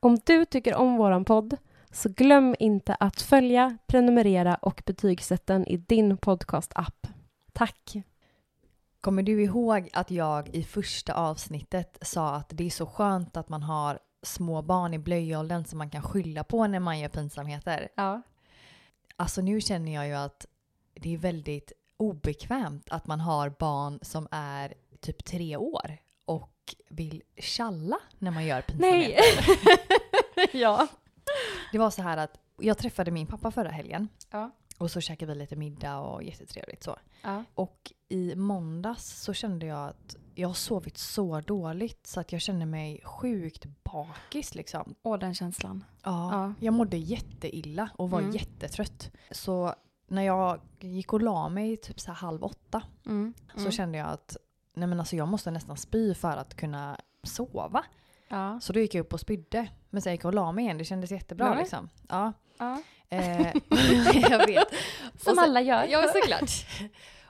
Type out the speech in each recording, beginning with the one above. Om du tycker om våran podd så glöm inte att följa, prenumerera och betygsätta den i din podcastapp. Tack! Kommer du ihåg att jag i första avsnittet sa att det är så skönt att man har små barn i blöjåldern som man kan skylla på när man gör pinsamheter? Ja. Alltså nu känner jag ju att det är väldigt obekvämt att man har barn som är typ tre år och vill tjalla när man gör pinsamheter. Nej! ja. Det var så här att jag träffade min pappa förra helgen. Ja. Och så käkade vi lite middag och jättetrevligt så. ja. Och i måndags så kände jag att jag har sovit så dåligt så att jag kände mig sjukt bakis liksom. Och den känslan. Ja. Ja. Jag mådde jätteilla och var Mm. jättetrött. Så när jag gick och la mig typ så här halv åtta Mm. så kände jag att nej men alltså jag måste nästan spy för att kunna sova. Ja. Så då gick jag upp och spydde. Men sen gick jag och la mig igen, det kändes jättebra Nej. liksom. Ja. ja. Eh, jag vet. Som sen- alla gör. Ja, såklart.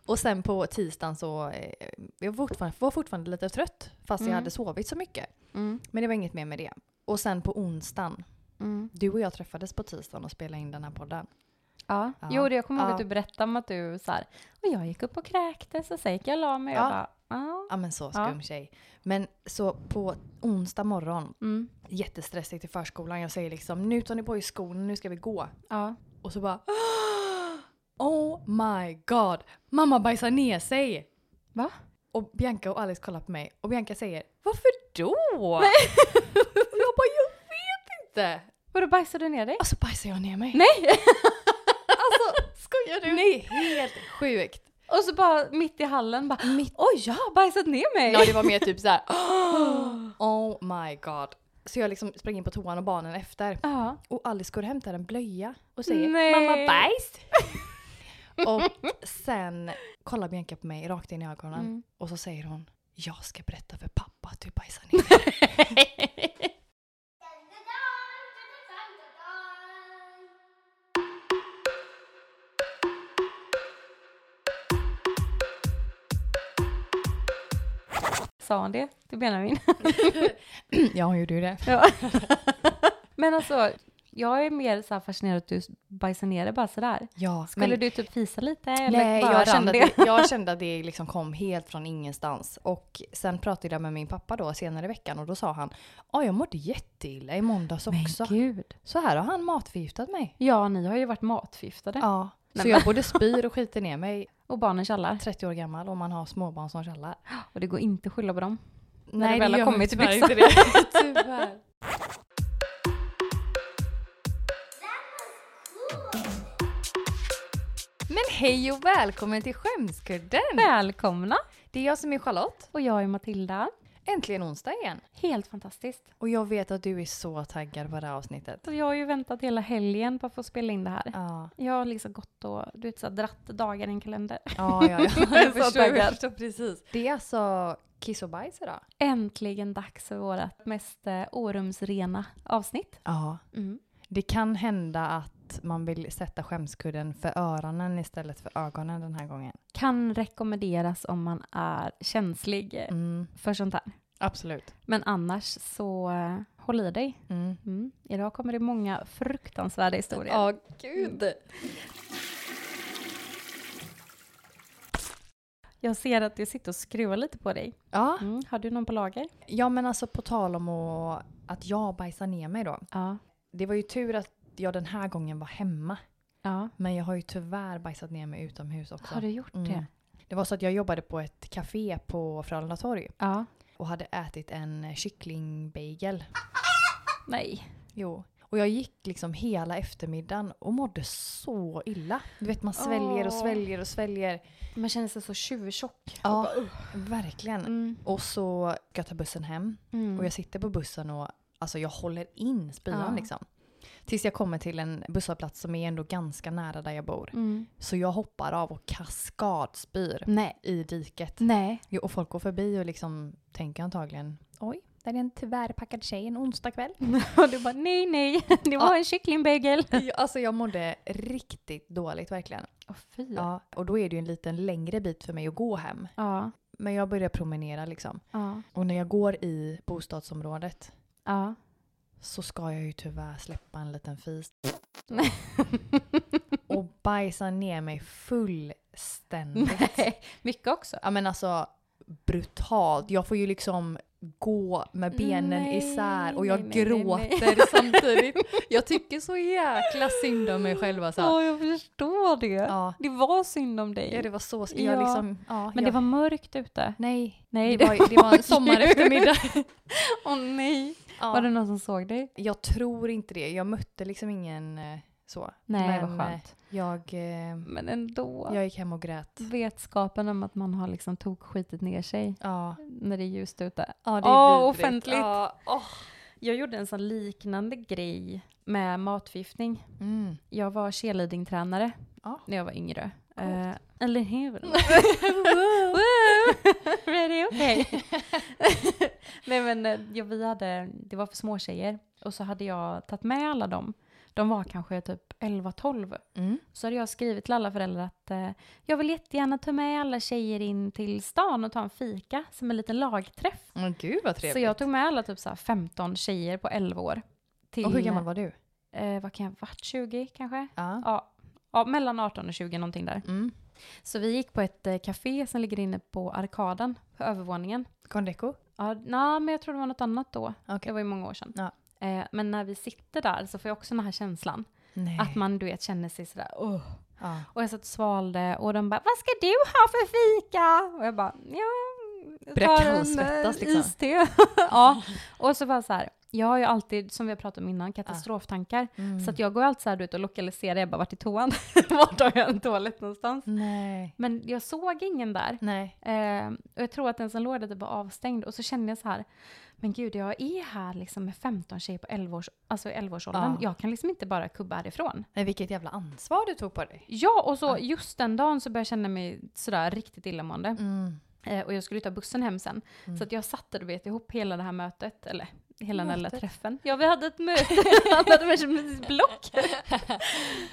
Och sen på tisdagen så eh, jag var fortfarande, var fortfarande lite trött fast jag Mm. hade sovit så mycket. Mm. Men det var inget mer med det. Och sen på onsdagen, Mm. du och jag träffades på tisdagen och spelade in den här podden. Ja. Ja. Jo, det- jag kommer ihåg Ja. att du berättade om att du så här, och jag gick upp och kräktes och sen gick jag och la mig och Ja. bara, ja. Ja men så skum tjej. Men så på onsdag morgon, Mm. jättestressigt i förskolan. Jag säger liksom nu tar ni på er skorna, nu ska vi gå. Ja. Och så bara Oh my god! Mamma bajsar ner sig! Va? Och Bianca och Alice kollar på mig och Bianca säger Varför då? Och jag bara jag vet inte! Vadå, bajsade du ner dig? Och så bajsar jag ner mig. Nej! Alltså skojar du? Nej, helt sjukt. Och så bara mitt i hallen bara, Mitt... oj, jag har bajsat ner mig. Ja det var mer typ så här. Oh my god. Så jag liksom sprang in på toan och barnen efter. Ja. Och Alice går och hämtar en blöja och säger Nej. “Mamma bajs!” Och sen kollar Bianca på mig rakt in i ögonen Mm. och så säger hon “Jag ska berätta för pappa att du bajsar ner dig." Sa han det till Benjamin? Ja hon gjorde ju det. Ja. Men alltså, jag är mer så här fascinerad att du bajsar ner dig bara sådär. Ja, Skulle men- du typ fisa lite eller Nej, bara jag rann kände, det? att det, jag kände att det liksom kom helt från ingenstans. Och sen pratade jag med min pappa då senare i veckan och då sa han “Ja, jag mådde jätteilla i måndags också. Men gud. Så här har han matförgiftat mig.” Ja, ni har ju varit matförgiftade. Ja, Nej, så jag både spyr och skiter ner mig Och barnen tjallar. 30 år gammal och man har småbarn som tjallar. Och det går inte att skylla på dem. När det väl har kommit till byxan. det. tyvärr. Men hej och välkommen till Mm. Skämskudden! Välkomna! Det är jag som är Charlotte. Och jag är Matilda. Äntligen onsdag igen. Helt fantastiskt. Och jag vet att du är så taggad på det här avsnittet. Så jag har ju väntat hela helgen på att få spela in det här. Ja, Jag har liksom gått och du vet, så här, dratt dagar i en kalender. ja, ja. ja. Jag är så taggad. förstår precis. Det är alltså kiss och bajs idag. Äntligen dags för vårt mest eh, orumsrena avsnitt. Ja. Mm. Det kan hända att man vill sätta skämskudden för öronen istället för ögonen den här gången. Kan rekommenderas om man är känslig eh, Mm, för sånt här. absolut. Men annars så eh, håll i dig. Mm. Mm. Idag kommer det många fruktansvärda historier. Ja, gud. Jag ser att du sitter och skruvar lite på dig. Ja. Mm. Har du någon på lager? ja, men alltså på tal om att, att jag bajsar ner mig då. Ja. Det var ju tur att jag den här gången var hemma. ja. Men jag har ju tyvärr bajsat ner mig utomhus också. Har du gjort Mm. det? Det var så att jag jobbade på ett café på Frölunda torg Ja. och hade ätit en kycklingbagel. Nej. Jo. Och jag gick liksom hela eftermiddagen och mådde så illa. Du vet man sväljer och Åh. sväljer och sväljer. Man känner sig så tjuvtjock. Ja, verkligen. Mm. Och så ska jag ta bussen hem Mm. och jag sitter på bussen och alltså jag håller in spyan Ja. liksom. Tills jag kommer till en busshållplats som är ändå ganska nära där jag bor. Mm. Så jag hoppar av och kaskadspyr Nej. i diket. Nej. Jo, och folk går förbi och liksom tänker antagligen oj, där är en tyvärr packad tjej en onsdagkväll. Och du bara nej, nej. Det var en kycklingbagel. alltså jag mådde riktigt dåligt verkligen. Åh fy. Ja, och då är det ju en liten längre bit för mig att gå hem. Ja. Men jag börjar promenera liksom. Ja. Och när jag går i bostadsområdet Ja. så ska jag ju tyvärr släppa en liten fis Nej. och bajsa ner mig fullständigt. Nej. Mycket också. Ja men alltså brutalt. Jag får ju liksom gå med benen Nej, isär och jag nej, nej, nej, gråter nej. samtidigt. Jag tycker så jäkla synd om mig själv alltså. Ja, jag förstår det. Ja. Det var synd om dig. ja, det var så... Jag Ja. liksom, ja, jag, Men det var mörkt ute. Nej, Nej, det, var, det var en ju- sommareftermiddag. Åh nej. Ja. Var det någon som såg dig? Jag tror inte det. Jag mötte liksom ingen eh, så. Nej, Men, vad skönt. eh, Jag, eh, Men ändå. jag gick hem och grät. Vetskapen om att man har liksom tokskitit ner sig Ja. när det är ljust ute. Ja, det är vidrigt. offentligt. Ja, Jag gjorde en sån liknande grej med matförgiftning. Mm. Jag var cheerleading-tränare Ja. när jag var yngre. Coolt. Eh, eller hur? Woo! Ready, okay. Nej men eh, ja, vi hade, det var för små tjejer och så hade jag tagit med alla dem. De var kanske typ 11-12. Mm. Så hade jag skrivit till alla föräldrar att eh, jag vill jättegärna ta med alla tjejer in till stan och ta en fika som en liten lagträff. Men gud vad trevligt. Så jag tog med alla typ så här 15 tjejer på 11 år. Till, och hur gammal var du? eh, vad kan jag ha varit, 20 kanske? Ja. Ja. ja, mellan 18 och 20 någonting där. Mm. Så vi gick på ett eh, café som ligger inne på Arkaden, på övervåningen. Kondeco? Ja, nej, men jag tror det var något annat då. Okej. Det var ju många år sedan. Ja. Eh, men när vi sitter där så får jag också den här känslan. Nej. Att man du vet känner sig sådär, åh. ja. Och jag satt och svalde och de bara, vad ska du ha för fika? Och jag bara, ja, jag Börjar tar en, eh, kallsvettas liksom. iste. ja, och så bara så här, jag har ju alltid, som vi har pratat om innan, katastroftankar. Ah. Så Mm. att jag går alltid så här du vet och lokaliserar, jag bara, vart är toan? vart har jag en toalett någonstans? Nej. Men jag såg ingen där. Nej. Eh, och jag tror att den som låg där typ var avstängd. Och så kände jag så här, men gud jag är här liksom med 15 tjejer på 11 års, alltså i 11-årsåldern. Ja. Jag kan liksom inte bara kubba härifrån. Men vilket jävla ansvar du tog på dig. Ja, och så Ja. just den dagen så började jag känna mig sådär riktigt illamående. Mm. Eh, och jag skulle ta bussen hem sen. Mm. Så att jag satte du vet, ihop hela det här mötet, eller hela den här lilla Mötet. träffen. Ja, vi hade ett möte, han hade med sig ett block. eh,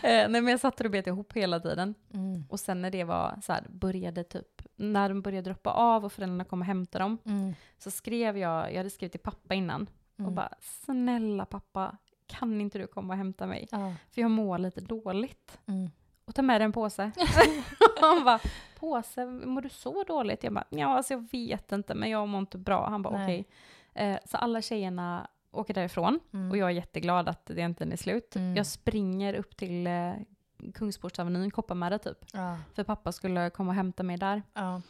nej men jag satte du vet ihop hela tiden. Mm. Och sen när det var så här, började typ, när de började droppa av och föräldrarna kom och hämtade dem, Mm. så skrev jag, jag hade skrivit till pappa innan, och Mm. bara snälla pappa, kan inte du komma och hämta mig? Ja. För jag mår lite dåligt Mm. och ta med dig en påse. han bara, påse, mår du så dåligt? Jag bara, ja alltså jag vet inte men jag mår inte bra. Han bara okej. Nej. Eh, så alla tjejerna åker därifrån Mm. och jag är jätteglad att det inte är slut. Mm. Jag springer upp till eh, Kungsportsavenyn, Kopparmära typ. Ja. För pappa skulle komma och hämta mig där. Ja.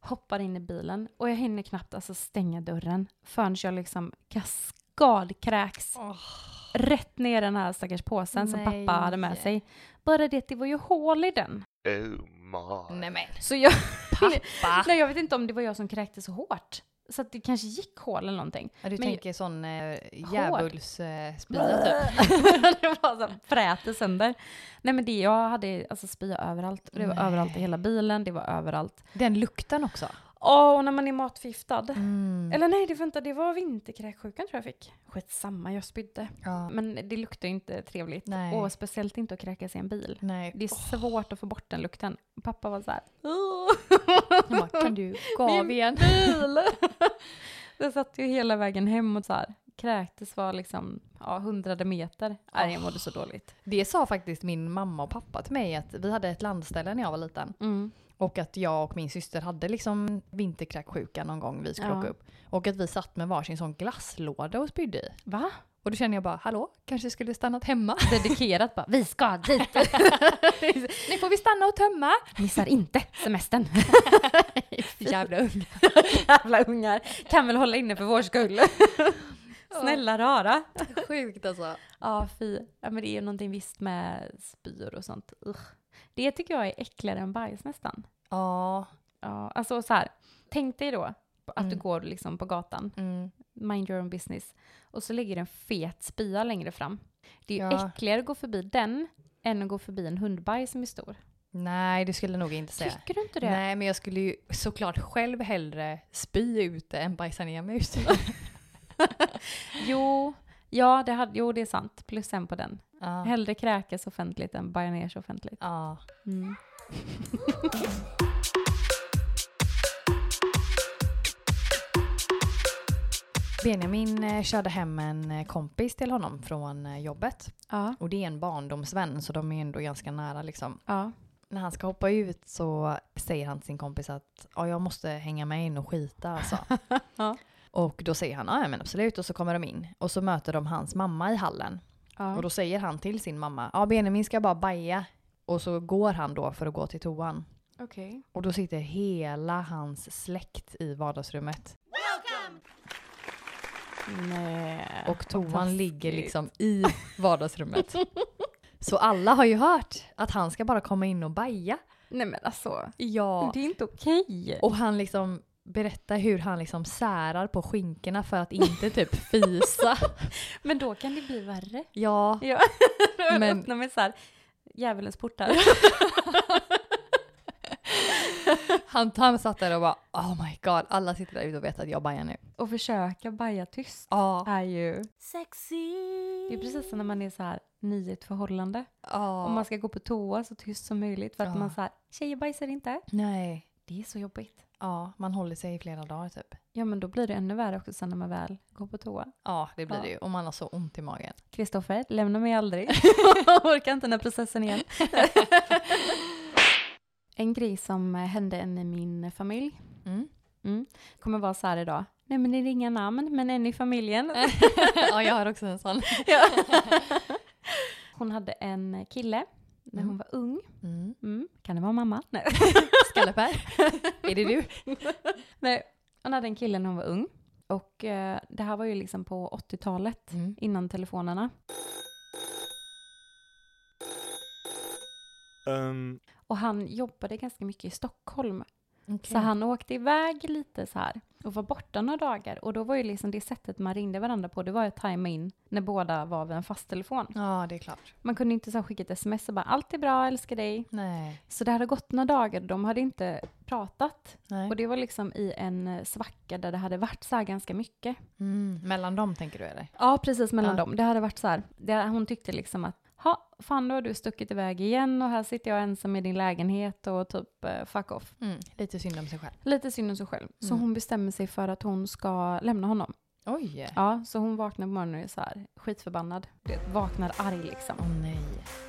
Hoppar in i bilen och jag hinner knappt alltså, stänga dörren förrän jag liksom kaskadkräks rätt ner i den här stackars påsen som Nej. pappa hade med sig. Bara det att det var ju hål i den. Oh my. Nej men Så jag, pappa! nej, jag vet inte om det var jag som kräktes så hårt. Så att det kanske gick hål eller någonting. Ja, du Men- tänker sån eh, Hård. djävulsspya eh, spya typ. det var så här, fräte sönder. Nej men det, jag hade alltså spya överallt. Och Det var Nej. överallt i hela bilen, det var överallt. Den lukten också. Åh, och när man är matförgiftad. Mm. Eller nej, det, vänta, det var vinterkräksjukan tror jag fick. Skitsamma, jag spydde. Ja. Men det luktar ju inte trevligt. Nej. Och speciellt inte att kräkas i en bil. Nej. Det är svårt att få bort den lukten. Pappa var så här. Jag bara, kan du gå av Min igen? bil. Jag satt ju hela vägen hem och så här, kräktes var liksom ja, hundrade meter. Nej, jag mådde så dåligt. Det sa faktiskt min mamma och pappa till mig att vi hade ett landställe när jag var liten Mm. och att jag och min syster hade liksom vinterkräksjuka någon gång vi skulle Ja. åka upp och att vi satt med varsin sån glasslåda och spydde i. Va? Och då kände jag bara, hallå, kanske skulle stannat hemma? Dedikerat bara, vi ska dit, Nu får vi stanna och tömma! missar inte semestern. Jävla unga. Jävla ungar, kan väl hålla inne för vår skull. Snälla rara. Sjukt alltså. Ja, fy. Ja, men det är ju någonting visst med spyor och sånt. Ugh. Det tycker jag är äckligare än bajs nästan. Ja. Ja, alltså så här, tänk dig då att du Mm. går liksom på gatan Mm. mind your own business. Och så ligger det en fet spya längre fram. Det är ju Ja. äckligare att gå förbi den än att gå förbi en hundbajs som är stor. Nej, det skulle jag nog inte säga. Tycker du inte det? Nej, men jag skulle ju såklart själv hellre spy ute än bajsa ner mig ute. Jo, ja, det hade, jo, det är sant. Plus en på den. Ja. Hellre kräkas offentligt än baja ner sig offentligt. Ja. Mm. Benjamin eh, körde hem en eh, kompis till honom från eh, jobbet. Ja. Och det är en barndomsvän så de är ändå ganska nära liksom. Ja. När han ska hoppa ut så säger han till sin kompis att ja, jag måste hänga med in och skita alltså. Ja. Och då säger han "Ja, ja men absolut och så kommer de in. Och så möter de hans mamma i hallen. Ja. Och då säger han till sin mamma ja Benjamin ska bara baja. Och så går han då för att gå till toan. Okej. Och då sitter hela hans släkt i vardagsrummet. Nej. Och toan Äh, fantastiskt. ligger liksom i vardagsrummet. Så alla har ju hört att han ska bara komma in och baja. Nej men alltså. Ja. Det är inte okej. Och han liksom berättar hur han liksom särar på skinkorna för att inte typ fisa. Men då kan det bli värre. Ja. Ja. Men- Men... Öppna med så här, djävulens portar. Han, han satt där och bara oh my god, alla sitter där ute och vet att jag bajar nu. och försöka baja tyst Ja. är ju... Sexy! Det är precis som när man är så här ny i ett förhållande. Om man ja. ska gå på toa så tyst som möjligt för att Ja. man så här, tjejer bajsar inte. Nej. Det är så jobbigt. Ja, man håller sig i flera dagar typ. Ja men då blir det ännu värre också sen när man väl går på toa. Ja, det blir Ja. det ju. Och man har så ont i magen. Kristoffer, lämna mig aldrig. Orkar inte den här processen igen. en grej som eh, hände en i min familj Mm. kommer vara så här idag. Nej men det är inga namn, men en i familjen. ja, jag har också en sån. hon hade en kille när Mm. hon var ung. Mm. Mm. Kan det vara mamma? Nej. Skallepär. är det du? Nej. Hon hade en kille när hon var ung. Och eh, det här var ju liksom på 80-talet, Mm. innan telefonerna. Um, Och han jobbade ganska mycket i Stockholm. Så han åkte iväg lite så här och var borta några dagar. Och då var ju liksom det sättet man ringde varandra på, det var ju att tajma in när båda var vid en fast telefon. Ja, det är klart. Man kunde inte så här skicka ett sms och bara “allt är bra, älskar dig”. Nej. Så det hade gått några dagar och de hade inte pratat. Nej. Och det var liksom i en eh, svacka där det hade varit så här ganska mycket. Mm. Mellan dem tänker du eller? Ja, precis Ja. mellan dem. Det hade varit så här, det, hon tyckte liksom att ha, fan då har du stuckit iväg igen och här sitter jag ensam i din lägenhet och typ eh, fuck off. Lite synd om sig själv. Lite synd om sig själv. Så Mm. hon bestämmer sig för att hon ska lämna honom. Oj! Ja, så hon vaknar på morgonen och är så här skitförbannad. Du vet, Vaknar arg liksom. Åh nej.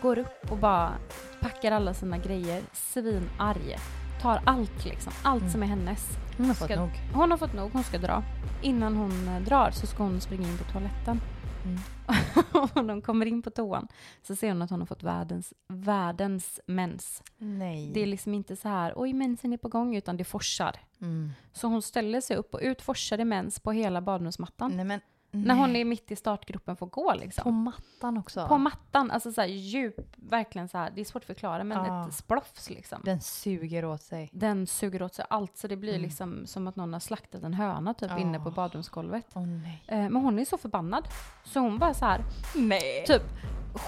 Går upp och bara packar alla sina grejer, svinarg. Tar allt liksom, allt Mm. som är hennes. Hon har fått Ska- nog. Hon har fått nog, hon ska dra. Innan hon eh, drar så ska hon springa in på toaletten. Mm. och när hon kommer in på toan så ser hon att hon har fått världens, världens mens. Nej. Det är liksom inte så här, oj mensen är på gång, utan det forsar. Mm. Så hon ställer sig upp och utforsar i mens på hela badrumsmattan. Nej men. När hon Mm, nej. är mitt i startgruppen får gå På liksom. mattan också. På, mattan, alltså så här djup, verkligen så här, det är svårt att förklara men Ja. ett splofs liksom. Den suger åt sig. Den suger åt sig allt så det blir Mm. liksom som att någon har slaktat en höna typ Ja. inne på badrumsgolvet. Åh nej. Eh, Men hon är så förbannad. Så hon bara så här, Nej. typ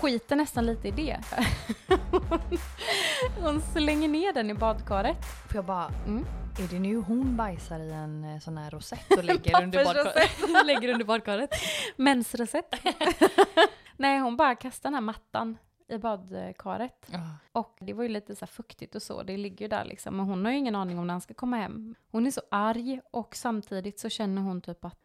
skiter nästan lite i det. hon slänger ner den i badkaret. Får jag bara. Mm. Är det nu hon bajsar i en eh, sån här rosett och lägger under badkaret? Pappersrosett. lägger under badkaret. Mensrecept. Nej, hon bara kastar den här mattan i badkaret. Och det var ju lite så här fuktigt och så, det ligger ju där liksom. Men hon har ju ingen aning om när han ska komma hem. Hon är så arg och samtidigt så känner hon typ att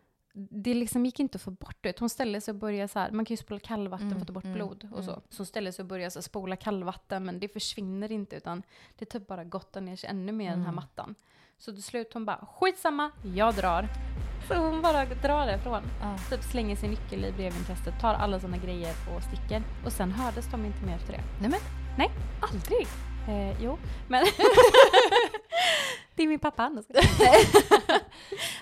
det liksom gick inte att få bort det. Hon ställer sig och börjar så här, man kan ju spola kallvatten för att ta bort blod och så. Så hon ställer sig och börjar så här, spola kallvatten men det försvinner inte utan det typ bara gottar ner sig ännu mer i Mm. den här mattan. Så till slut hon bara, skitsamma, jag drar. Så hon bara drar därifrån. Ja. Typ slänger sin nyckel i brevinkastet, tar alla sina grejer och sticker. Och sen hördes de inte mer efter det. Nej men. Nej, aldrig. Eh, jo, men... det är min pappa. han ska-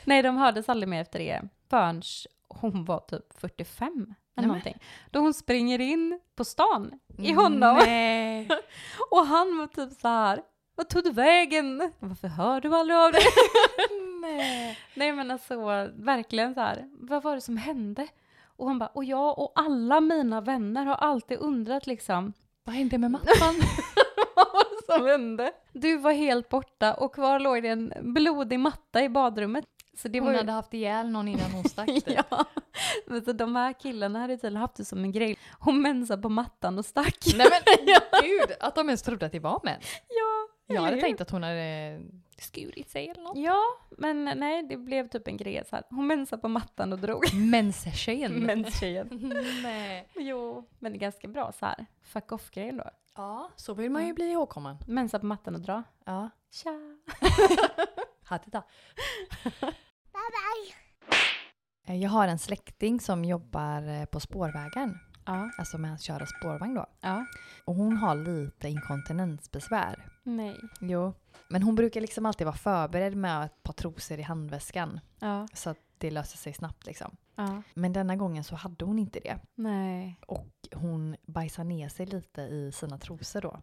Nej, de hördes aldrig mer efter det förrän hon var typ 45 eller någonting. Då hon springer in på stan i honom. Mm, Nej. Och han var typ så här, vad tog du vägen? Varför hör du aldrig av dig? nej. Nej men alltså verkligen så här, vad var det som hände? Och han bara, och jag och alla mina vänner har alltid undrat liksom, Vad hände med mattan? vad var det som hände? Du var helt borta och kvar låg det en blodig matta i badrummet. Så det var hon ju... hade haft ihjäl någon innan hon stack typ. Ja, men så de här killarna hade tydligen haft det som en grej. Hon mensade på mattan och stack. Nej men gud, att de ens trodde att det var män. Ja, Jag hade hur? tänkt att hon hade skurit sig eller något. Ja, men nej, det blev typ en grej så här. Hon mensade på mattan och drog. Menstjejen. Menstjejen. Nej. Jo, men det är ganska bra så här. Fuck off-grejen då. Ja, så vill man ju bli ihågkommen. Mensa på mattan och dra. Ja. Tja! Hatita. bye bye. Eh, Jag har en släkting som jobbar eh, på spårvägen. Ja. Alltså med att köra spårvagn då. Ja. Och hon har lite inkontinensbesvär. Nej. Jo. Men hon brukar liksom alltid vara förberedd med ett par trosor i handväskan. Ja. Så att det löser sig snabbt liksom. Ja. Men denna gången så hade hon inte det. Nej. Och hon bajsade ner sig lite i sina trosor då.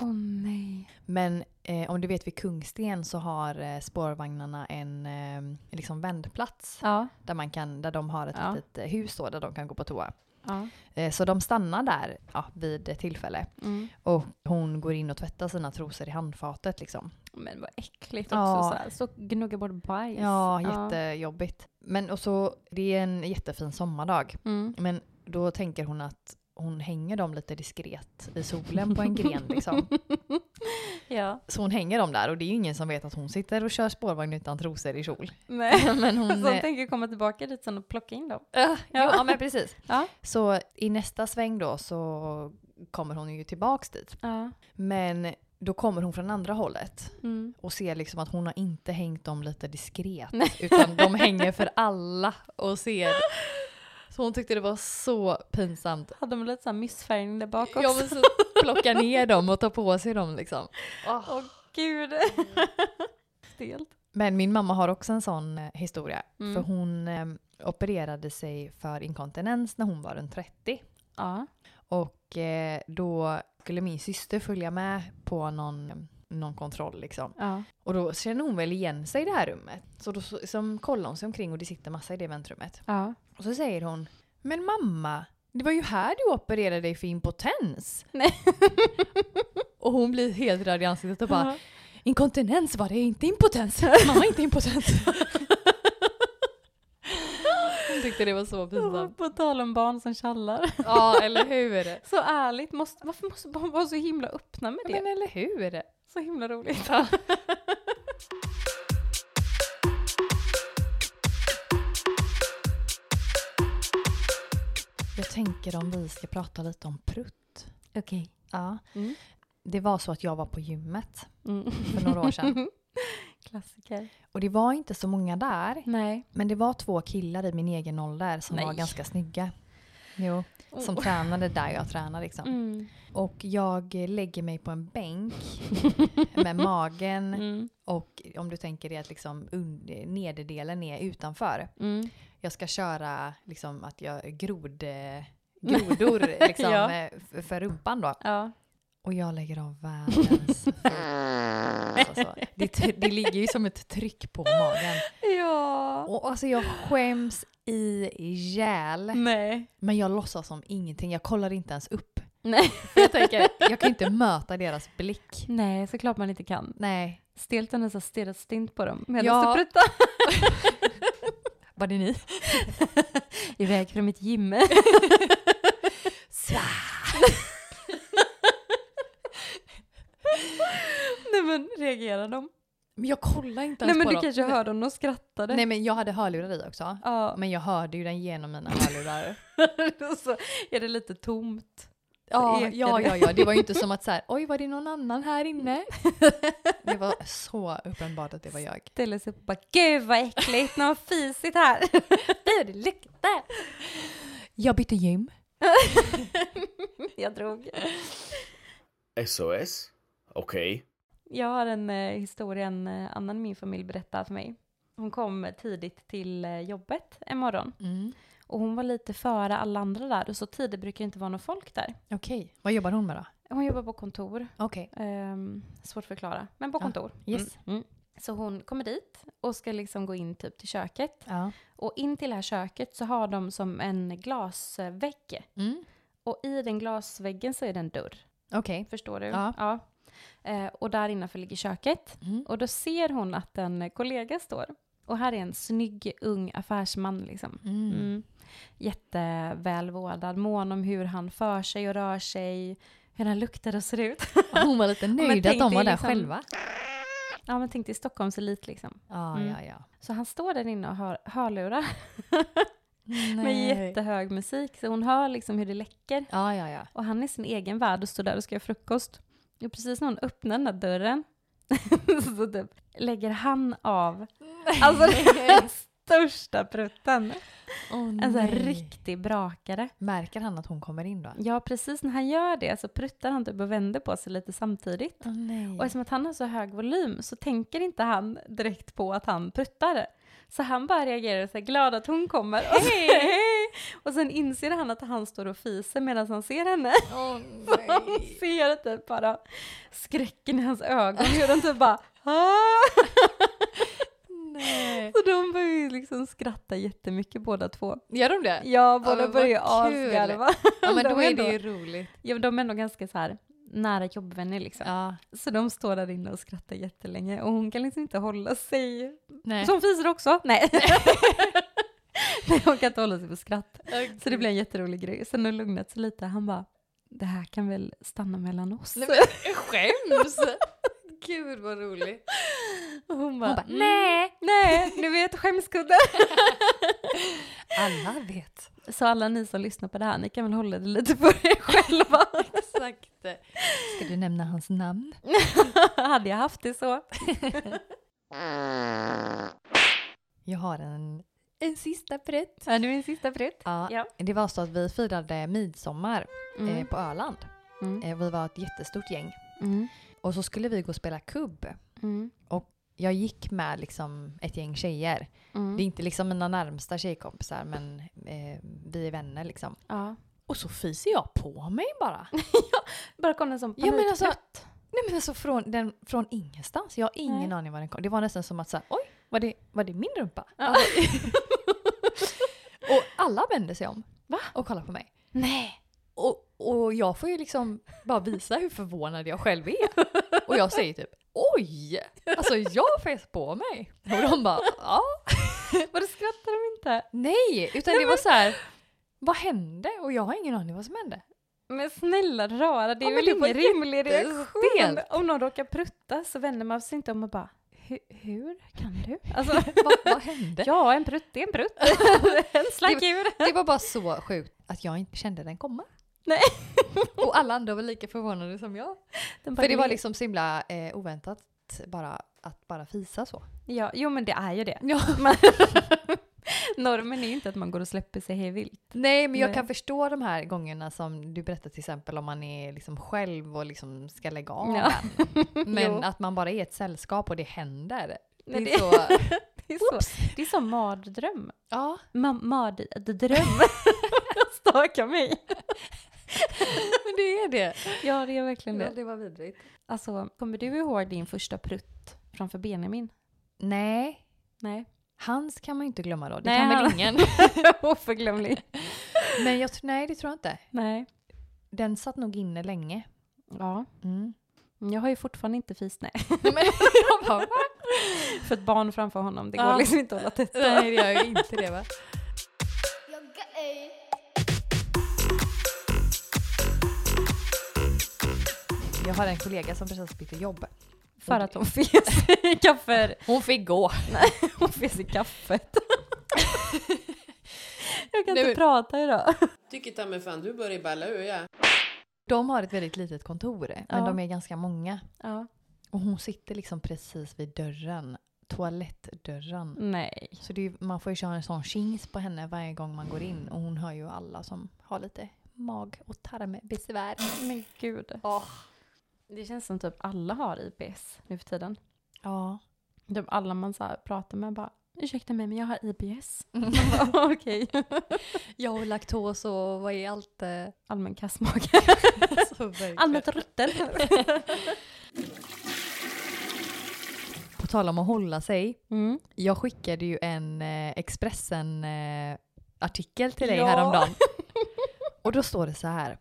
Åh oh, nej. Men eh, om du vet vid Kungsten så har eh, spårvagnarna en eh, liksom vändplats. Ja. Där, man kan, där de har ett Ja. litet eh, hus då, där de kan gå på toa. Ja. Eh, så de stannar där ja, vid eh, tillfälle. Mm. Och hon går in och tvättar sina trosor i handfatet liksom. Men vad äckligt också. Ja. Så, här. så gnugga bort bajs. Ja, jättejobbigt. Men och så, det är en jättefin sommardag. Mm. Men då tänker hon att hon hänger dem lite diskret i solen på en gren liksom. Ja. Så hon hänger dem där och det är ju ingen som vet att hon sitter och kör spårvagn utan trosor i kjol. Nej. Men hon... Så hon eh, tänker komma tillbaka dit sen och plocka in dem. ja, ja men precis. Ja. Så i nästa sväng då så kommer hon ju tillbaks dit. Ja. Men då kommer hon från andra hållet Mm. och ser liksom att hon har inte hängt dem lite diskret. Nej. Utan de hänger för alla och ser. Så hon tyckte det var så pinsamt. Hade de lite så här missfärgning där bak också? Jag vill så plocka ner dem och ta på sig dem liksom. Åh Mm. gud. Stelt. Men min mamma har också en sån eh, historia. Mm. För hon eh, opererade sig för inkontinens när hon var runt 30. Ja. Och eh, då skulle min syster följa med på någon, någon kontroll liksom. Ja. Och då känner hon väl igen sig i det här rummet. Så då så, som kollar hon sig omkring och det sitter massa i det väntrummet. Ja. Och så säger hon Men mamma, det var ju här du opererade dig för impotens. Nej. Och hon blir helt röd i ansiktet och bara Ja. Inkontinens var det, inte impotens. Mamma inte impotens. Hon tyckte det var så pinsamt. På tal om barn som tjallar. Ja, eller hur? Så ärligt, måste, varför måste barn vara så himla öppna med det? Men eller hur? Så himla roligt. Jag tänker om vi ska prata lite om prutt. Okej. Ja. Mm. Det var så att jag var på gymmet Mm. för några år sedan. Klassiker. Och det var inte så många där. Nej. Men det var två killar i min egen ålder som var Nej. Oh. ganska snygga. Jo, som tränade där jag tränar liksom. Mm. Och jag eh, lägger mig på en bänk med magen Mm. och om du tänker dig att liksom und- nederdelen är utanför. Mm. Jag ska köra liksom att jag grod, eh, grodor liksom, Ja. eh, f- för rumpan då. Ja. Och jag lägger av världens alltså, så. det, tr- det ligger ju som ett tryck på magen. Ja. Och alltså jag skäms ihjäl. Nej. Men jag låtsas som ingenting. Jag kollar inte ens upp. Nej. Jag tänker, jag kan ju inte möta deras blick. Nej, såklart man inte kan. Nej. Stilton har så stirrat stint på dem medan Ja. ja. du pruttar. Vad är ni? Iväg från mitt gym. Svär. Nej men reagerar de? Men jag kollar inte Nej ens men på du dem. kanske hörde om de skrattade. Nej men jag hade hörlurar i också. Ja. Men jag hörde ju den genom mina hörlurar. Och så är det lite tomt. ja, ekade. ja, ja, ja. Det var ju inte som att så här, oj var det någon annan här inne? Det var så uppenbart att det var jag. Ställer sig upp och bara gud vad äckligt, någon har fisit här. Fy, det luktar. Jag bytte gym. Jag drog. SOS? Okej. Jag har en eh, historia en eh, annan i min familj berättar för mig. Hon kom tidigt till eh, jobbet en morgon Mm. och hon var lite före alla andra där och så tidigt brukar det inte vara någon folk där. Okej, vad jobbar hon med då? Hon jobbar på kontor, Okej, ehm, svårt att förklara, men på Ja, kontor. yes. Mm. Mm. Så hon kommer dit och ska liksom gå in typ till köket ja. och in till det här köket så har de som en glasvägg Mm. och i den glasväggen så är det en dörr. Okej. Förstår du? Ja. Eh, och där innanför ligger köket. Mm. Och då ser hon att en kollega står. Och här är en snygg ung affärsman liksom. Mm. Mm. Jättevälvårdad, mån om hur han för sig och rör sig, hur den luktar och ser ut. Hon var lite nöjd att tänk de dig var där liksom- själva. Ja men tänk dig Stockholms elit liksom. Ja, Mm. ja, ja. Så han står där inne och hör hörlurar med Nej. jättehög musik. Så hon hör liksom hur det läcker. Ja, ja, ja. Och han är i sin egen värld och står där och ska göra frukost. Och precis när hon öppnar den där dörren så typ lägger han av alltså, den största prutten. Åh, En sån här nej. riktig brakare. Märker han att hon kommer in då? Ja, precis när han gör det så pruttar han typ och vänder på sig lite samtidigt. Åh nej. Och eftersom att han har så hög volym så tänker inte han direkt på att han pruttar. Så han bara reagerar och är glad att hon kommer. Och, hej! och sen inser han att han står och fiser medan han ser henne. Åh, Man nej. ser typ bara skräcken i hans ögon. Hur den typ bara "Ah!" nej. Så de börjar ju liksom skratta jättemycket båda två. Gör de det? Ja, båda men vad börjar ju kul. asgarva. Ja, men De då är är det ändå- ju roligt. Ja, men de är ändå ganska så här nära jobbvänner liksom. Ja, Så de står där inne och skrattar jättelänge och hon kan liksom inte hålla sig. nej. Så hon fiser också? Nej. Nej, hon kan inte hålla sig för skratt. Så det blir en jätterolig grej. Sen har hon lugnat sig lite. Han bara, det här kan väl stanna mellan oss? Nej, men, skäms! Gud vad roligt. Mm. Och hon Hon bara, bara, nej, nej, nu vet skämskudden. Alla vet. Så alla ni som lyssnar på det här, ni kan väl hålla det lite för er själva. Exakt. Ska du nämna hans namn? Hade jag haft det så. Jag har en, en sista prutt. Ja, nu är min sista prutt. Ja, Ja. Det var så att vi firade midsommar eh, Mm. på Öland. Mm. Eh, vi var ett jättestort gäng. Mm. Och så skulle vi gå och spela kubb. Mm. Jag gick med liksom ett gäng tjejer. Det är Mm. inte liksom mina närmsta tjejkompisar men eh, vi är vänner liksom. Ja. Och så fyser jag på mig bara. Bara kom den som Ja, men panikprutt. alltså- Nej men alltså från, den, från ingenstans. Jag har ingen Nej. aning var den kom. Det var nästan som att säga, oj, var det, var det min rumpa? Ja. Alltså, och alla vände sig om Va? och kollade på mig. Nej. Och, och jag får ju liksom bara visa hur förvånad jag själv är. Och jag säger typ oj! Alltså jag fes på mig. Och de bara ja. Vadå skrattar de inte? Nej, utan det var så här. Vad hände? Och jag har ingen aning vad som hände. Men snälla rara, det är Ja, men väl det var ingen rimlig reaktion? jättestelt. Om någon råkar prutta så vänder man sig inte om och bara, "Hu- hur kan du? Alltså, Vad, vad hände? ja, en prutt är en prutt. en slack djur. Det var bara så sjukt att jag inte kände den komma. Nej. Och alla andra var lika förvånade som jag. Den bara, För det var "Nej." liksom så himla eh, oväntat bara, att bara fisa så. Ja, jo men det är ju det. Ja. Man- Normen är ju inte att man går och släpper sig hej vilt. Nej men jag Nej. kan förstå de här gångerna som du berättade till exempel om man är liksom själv och liksom ska lägga av Ja. den. Men Jo. att man bara är ett sällskap och det händer. Det Nej, är det, så... det, är så, det är som mardröm. Ja. Ma- mardröm. Staka mig. Men det är det. Ja, det är verkligen det. det var vidrigt. Alltså, kommer du ihåg din första prutt framför Benjamin? Nej. Nej. Hans kan man ju inte glömma då. Det Nej, kan han- väl ingen. Oförglömlig. Men jag, tr- nej det tror jag inte. Nej. Den satt nog inne länge. Ja. Mm. Jag har ju fortfarande inte fis, nej. Men jag bara, va? För ett barn framför honom, det Ja. går liksom inte att hålla tätt. Nej det gör ju inte det va? Jag har en kollega som precis bytte jobb. För att hon fes i kaffe. Hon fick gå. Hon fes i kaffet. Jag kan Nej, men- inte prata idag. Tycker ta mig fan du börjar balla ur ja. De har ett väldigt litet kontor, men Ja. de är ganska många. Ja. Och hon sitter liksom precis vid dörren, toalettdörren. Nej. Så det är, ju- man får ju köra en sån chings på henne varje gång man går in. Och hon hör ju alla som har lite mag och tarmbesvär. Men gud. Åh. Det känns som typ alla har IBS nu för tiden. Ja. Typ alla man så här pratar med bara ursäkta mig men jag har IBS. Man bara, Okej. Jag och laktos och vad är allt? eh, Allmän kastmage. Allmänt rutten. På tal om att hålla sig. Mm. Jag skickade ju en eh, Expressen-artikel till dig Ja. häromdagen. Och då står det så här.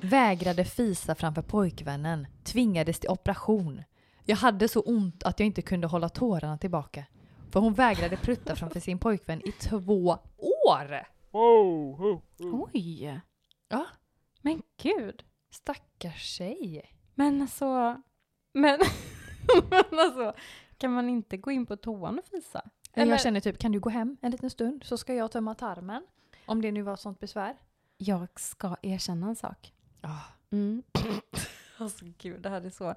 Vägrade fisa framför pojkvännen. Tvingades till operation. Jag hade så ont att jag inte kunde hålla tårarna tillbaka. För hon vägrade prutta framför sin pojkvän i två år! Oj! Ja. Men gud. Stackars tjej. Men alltså, men, men alltså, kan man inte gå in på toan och fisa? Eller- Jag känner typ, kan du gå hem en liten stund så ska jag tömma tarmen? Om det nu var sånt besvär. Jag ska erkänna en sak. Ja. Mm. alltså gud, det här är så.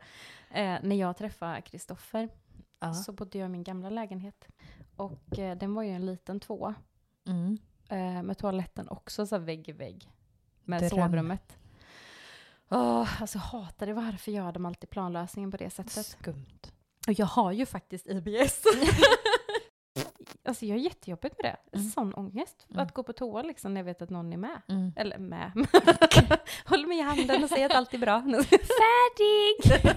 Eh, när jag träffade Kristoffer så bodde jag i min gamla lägenhet. Och eh, den var ju en liten tvåa. Mm. eh, med toaletten också så här vägg i vägg med Dröm. sovrummet. Åh, alltså jag hatade varför jag hade multiplanlösningen på det sättet. Skumt. Och jag har ju faktiskt IBS. alltså jag är jättejobbigt med det. Mm. Sån ångest. Mm. Att gå på toa liksom när jag vet att någon är med. Mm. Eller med. Håller mig i handen och säger att allt är bra. Färdig!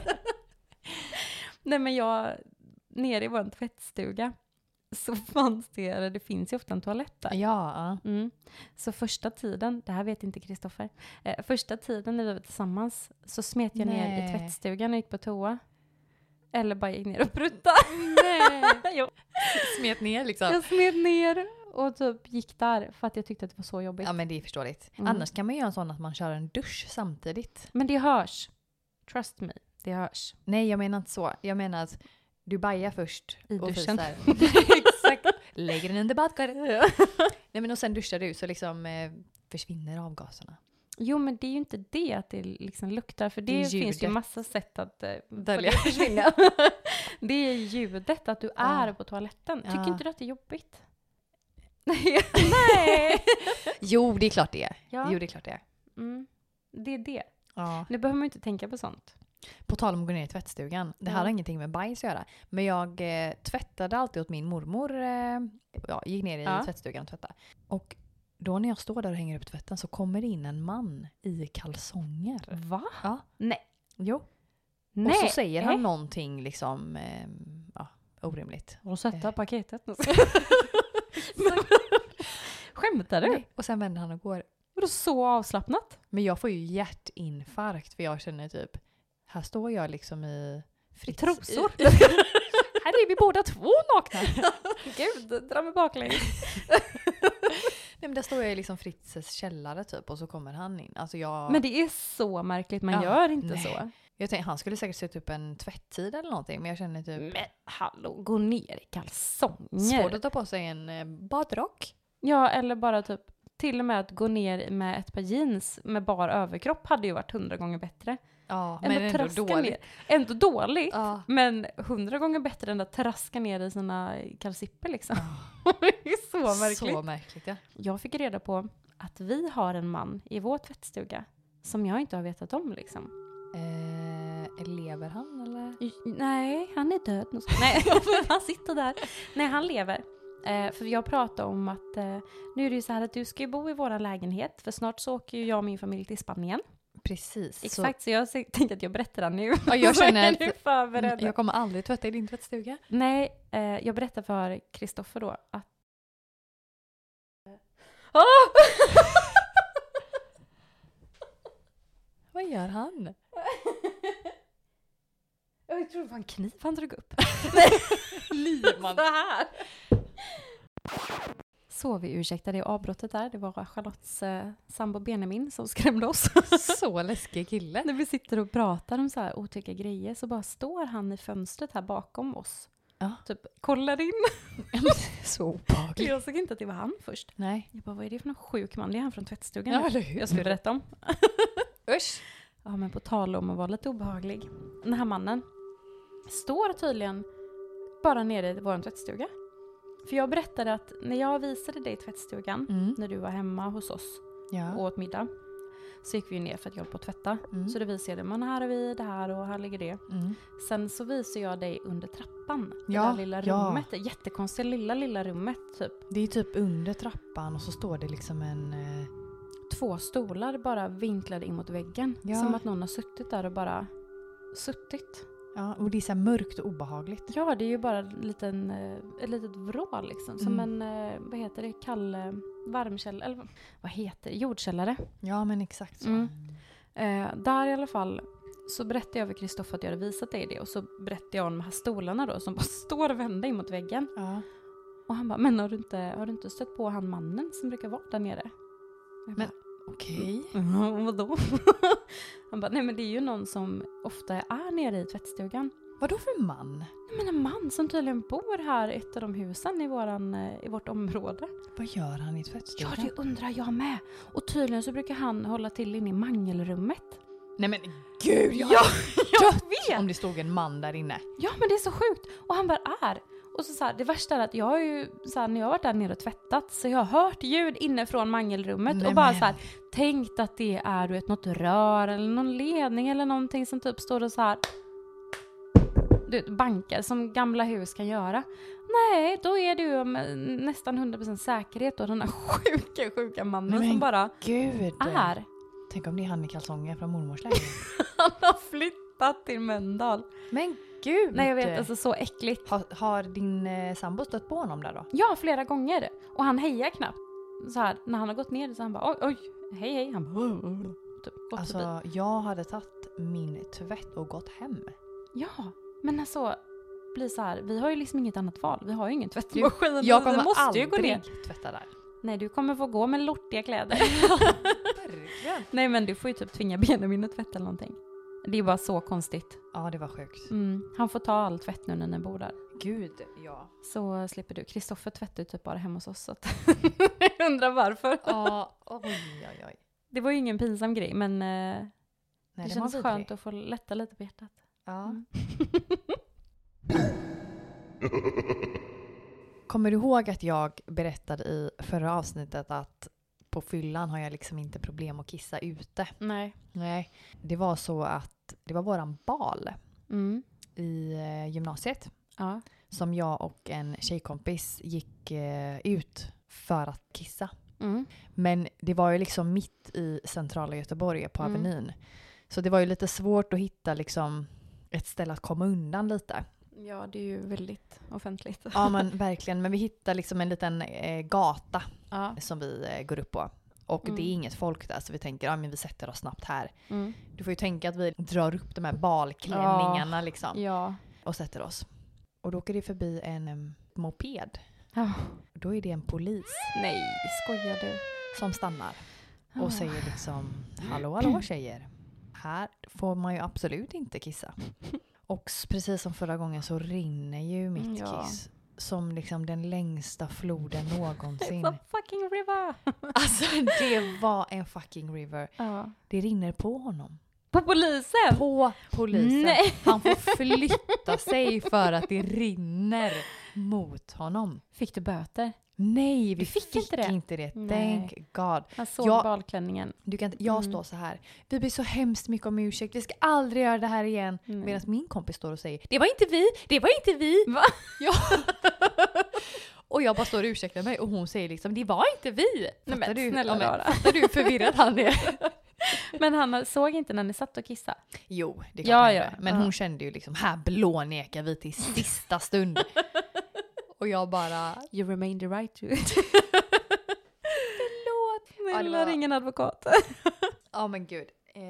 Nej men jag, nere i vår tvättstuga så fanns det, eller det finns ju ofta en toalett där. Ja. Mm. Så första tiden, det här vet inte Kristoffer, eh, första tiden när vi var tillsammans så smet jag ner i Nej. tvättstugan och gick på toa. Eller bara gick ner och pruttade. Jo. Smet ner liksom. jag smet ner och typ gick där för att jag tyckte att det var så jobbigt. Ja men det är förståeligt. Mm. Annars kan man göra en sån att man kör en dusch samtidigt. Men det hörs. Trust me, det hörs. Nej jag menar inte så. Jag menar att du bajar först. I och duschen. Fisar. Exakt. Lägger den under badkaret. Nej men och sen duschar du så liksom eh, försvinner avgaserna. Jo men det är ju inte det att det liksom luktar för det, Det är finns ju ljudet. massa sätt att eh, få Dölja. det att försvinna. det är ljudet att du Ah. är på toaletten. Tycker Ja. inte du att det är jobbigt? Nej! Jo det är klart det är. Ja. Jo det är klart det är. Mm. Det är det. Ja. Nu behöver man ju inte tänka på sånt. På tal om att gå ner i tvättstugan. Det här Ja. har ingenting med bajs att göra. Men jag eh, tvättade alltid åt min mormor. Eh, ja, gick ner i Ja. tvättstugan och tvättade. Och då när jag står där och hänger upp tvätten så kommer det in en man i kalsonger. Va? Ja. Nej. Jo. Nej. Och så säger han någonting liksom eh, ja, orimligt. Och sätta Eh. paketet. Skämtar du? Nej. Och sen vänder han och går. Vadå så avslappnat? Men jag får ju hjärtinfarkt för jag känner typ, här står jag liksom i I Fritz. trosor? Här är vi båda två nakna. Gud, dra mig baklänges. Nej men där står jag i liksom Fritzes källare typ och så kommer han in. Alltså jag, Men det är så märkligt, man Ja, gör inte nej. så. jag tänkte, han skulle säkert sätta upp en tvätttid eller någonting men jag känner typ, Men hallå, gå ner i svårt kalsonger. att ta på sig en eh, badrock. Ja, eller bara typ till och med att gå ner med ett par jeans med bar överkropp hade ju varit hundra gånger bättre. Ja Än men att ändå traska dåligt. Ner. Ändå dåligt. Ja. Men hundra gånger bättre än att traska ner i sina kalsipper liksom. det är så märkligt. Så märkligt ja. Jag fick reda på att vi har en man i vår tvättstuga som jag inte har vetat om liksom. Eh, lever han eller? Nej, han är död. nu. Nej, han sitter där. Nej, han lever. Eh, för jag pratade om att eh, nu är det ju så här att du ska ju bo i våra lägenhet för snart så åker ju jag och min familj till Spanien. Precis. Exakt, så jag se- tänkte att jag berättar det nu. Så, ja, jag Så är känner ni att förberedda. jag kommer aldrig tvätta i din tvättstuga. Nej, eh, jag berättade för Kristoffer då att... Ah! Vad gör han? jag tror det var en kniv han drog upp. Liman. Så här. Så vi ursäktar det avbrottet där. Det var Charlottes eh, sambo Benjamin som skrämde oss. Så läskig kille. När vi sitter och pratar om så här otäcka grejer så bara står han i fönstret här bakom oss. Ja. Typ kollar in. Så obehaglig. Jag såg inte att det var han först. Nej. Jag bara, vad är det för någon sjuk man? Det är han från tvättstugan. Ja, eller hur? jag skulle berätta om. Usch. Ja, men på tal om att vara lite obehaglig. Den här mannen står tydligen bara nere i vår tvättstuga. För jag berättade att när jag visade dig tvättstugan, Mm. när du var hemma hos oss och Ja. åt middag, så gick vi ju ner för att jag höll på att tvätta. Mm. Så då visade jag, man här har vi det här och här ligger det. Mm. Sen så visade jag dig under trappan, Ja, det där lilla ja. rummet, det jättekonstiga lilla, lilla rummet typ. Det är typ under trappan och så står det liksom en... eh, Två stolar bara vinklade in mot väggen. Ja. Som att någon har suttit där och bara suttit. Ja, och det är så här mörkt och obehagligt. Ja, det är ju bara en liten, eh, ett litet vrå liksom. Som Mm. en, eh, vad heter det, kall eh, varmkälla, eller vad- vad heter det, jordkällare. Ja, men exakt så. Mm. Eh, där i alla fall så berättade jag för Kristoffer att jag hade visat dig det och så berättade jag om de här stolarna då som bara står och vänder in mot väggen. Ja. Och han bara, men har du inte, har du inte stött på han mannen som brukar vara där nere? Jag Men- bara, Okej. Mm. "Ja, vadå? han bara, nej men det är ju någon som ofta är nere i tvättstugan. Vadå för man? Nej men en man som tydligen bor här i ett av de husen i, våran, eh, i vårt område. Vad gör han i Ja, tvättstugan? det undrar jag med. Och tydligen så brukar han hålla till inne i mangelrummet. Nej men gud! Jag Ja, jag vet! Om det stod en man där inne. Ja, men det är så sjukt. Och han bara är. Och så, så här, det värsta är att jag har ju, så här, när jag har varit där nere och tvättat, så jag har hört ljud inne från mangelrummet Nej, och bara men. så här, tänkt att det är du vet, något rör eller någon ledning eller någonting som typ står och så här du vet, bankar som gamla hus kan göra. Nej, då är det ju med nästan 100% säkerhet då den här sjuka, sjuka mannen Men. som bara Gud! är. Tänk om det är han i kalsonger från mormors lägenhet. Han har flyttat till Mölndal. men gud! Nej, jag vet, alltså så äckligt. har, har din eh, sambo stött på honom där då? Ja, flera gånger. Och han hejar knappt. Så här, när han har gått ner så han bara oj, oj, hej, hej. Han bara, "Oj, oj, oj." typ, gått förbi. Alltså jag hade tagit min tvätt och gått hem. Ja, men alltså blir så här, vi har ju liksom inget annat val. Vi har ju ingen tvättmaskin. Jag Vi kommer måste aldrig ju gå ner. tvätta där. Nej, du kommer få gå med lortiga kläder. Verkligen. Nej, men du får ju typ tvinga Benjamin att tvätta eller någonting. Det är bara så konstigt. Ja det var sjukt. Mm. Han får ta all tvätt nu när ni bor där. Gud ja. Så slipper du. Kristoffer tvättar ju typ bara hemma hos oss. Så att jag undrar varför. Ja, oj oj oj. Det var ju ingen pinsam grej, men eh, Nej, det var känns vidrig. skönt att få lätta lite på hjärtat. Ja. Mm. Kommer du ihåg att jag berättade i förra avsnittet att på fyllan har jag liksom inte problem att kissa ute? Nej. Nej. Det var så att det var våran bal Mm. i eh, gymnasiet Ja. som jag och en tjejkompis gick eh, ut för att kissa. Mm. Men det var ju liksom mitt i centrala Göteborg på Mm. Avenyn. Så det var ju lite svårt att hitta liksom ett ställe att komma undan lite. ja, det är ju väldigt offentligt. Ja men verkligen, men vi hittade liksom en liten eh, gata Ja. som vi eh, går upp på. Och Mm. det är inget folk där så vi tänker ja men vi sätter oss snabbt här. Mm. Du får ju tänka att vi drar upp de här balklänningarna liksom Ja. och sätter oss. Och då åker det förbi en em, moped. Ja. Då är det en polis Nej, skojar du? som stannar Ah. och säger liksom hallå hallå tjejer. Här får man ju absolut inte kissa. Och s- precis som förra gången så rinner ju mitt Mm, Ja. kiss som liksom den längsta floden någonsin. It's a fucking river! Alltså det var en fucking river. Ja. Det rinner på honom. På polisen! På polisen. Nej. Han får flytta sig för att det rinner mot honom. Fick du böter? Nej, vi Du fick, fick inte det? inte det. Nej. Thank God. Han såg Ja. balklänningen. Du kan inte, jag Mm. står så här. Vi ber så hemskt mycket om ursäkt. Vi ska aldrig göra det här igen. Nej. Medan min kompis står och säger det var inte vi, det var inte vi. Va? Ja. och jag bara står och ursäktar mig och hon säger liksom det var inte vi. Nej, Fattar men, du? snälla Ja, men, rara. fattar du hur förvirrad han är? Men han såg inte när ni satt och kissade? Jo, det Ja, kan ja, ja. ja. Men Ja. hon kände ju liksom här blånekar vi till sista stund. och jag bara... You remained the right to it. Förlåt! Ja, det Snälla var- ring en advokat. Ja men gud. Eh,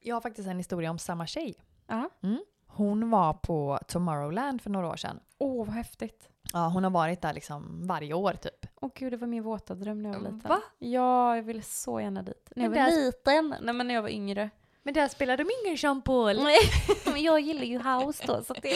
jag har faktiskt en historia om samma tjej. Ja. Mm. Hon var på Tomorrowland för några år sedan. Åh, vad häftigt. Ja, hon har varit där liksom varje år typ. Åh gud, det var min våta dröm när jag var liten. Va? Ja, jag ville så gärna dit. När jag Men var där- liten? Nej men när jag var yngre. Men där spelade de ingen Jean Paul. Nej, men jag gillar ju house då så att det...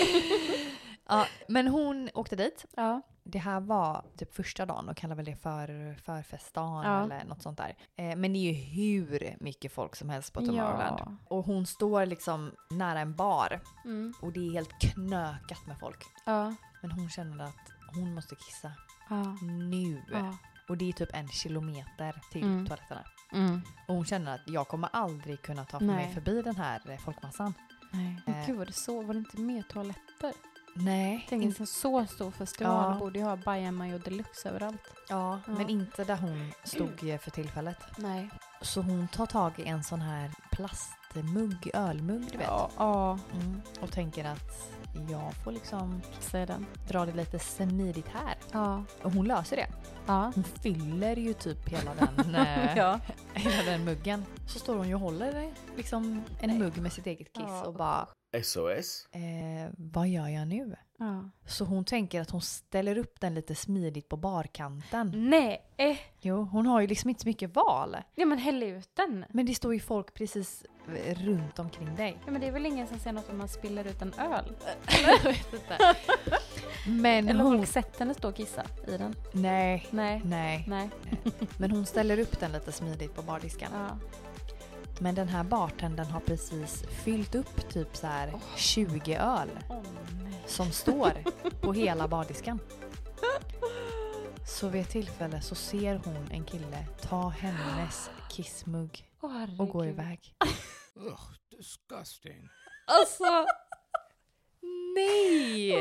Ja, men hon åkte dit. Ja. Det här var typ första dagen och kallar väl det för förfestdagen Ja. eller något sånt där. Eh, men det är ju hur mycket folk som helst på Tomorrowland. ja. Och hon står liksom nära en bar Mm. och det är helt knökat med folk. Ja. Men hon känner att hon måste kissa Ja. nu. ja. Och det är typ en kilometer till Mm. toaletterna. Mm. Och hon känner att jag kommer aldrig kunna ta mig Nej. förbi den här eh, folkmassan. Nej. Eh. Men gud var det så, var det inte mer toaletter? Nej, Tänk in, en liksom, så stor festival, Ja. borde ju ha Bajamaja och deluxe överallt. ja, Ja. men inte där hon stod eh, för tillfället. Nej. Så hon tar tag i en sån här plastmugg, ölmugg du vet. Ja, ja. Mm. Och tänker att jag får liksom säger den. dra det lite smidigt här. Ja. Och hon löser det. Ja. Hon fyller ju typ hela den, eh, Ja. hela den muggen. Så står hon ju och håller liksom en Nej. mugg med sitt eget kiss Ja, och bara SOS? Eh, vad gör jag nu? Ja. Så hon tänker att hon ställer upp den lite smidigt på barkanten. Nej! eh, Jo, hon har ju liksom inte så mycket val. Ja men häll ut den. Men det står ju folk precis eh, runt omkring dig. Ja men det är väl ingen som säger något om man spiller ut en öl? Men Eller hon... folk sett henne stå och kissa i den? Nej, Nej. nej. Nej. Men hon ställer upp den lite smidigt på bardisken. Ja. Men den här bartendern har precis fyllt upp typ så här 20 öl Åh nej. som står på hela bardisken. Så vid ett tillfälle så ser hon en kille ta hennes kissmugg Åh herregud. och gå iväg. Ugh, disgusting. Alltså! Nej!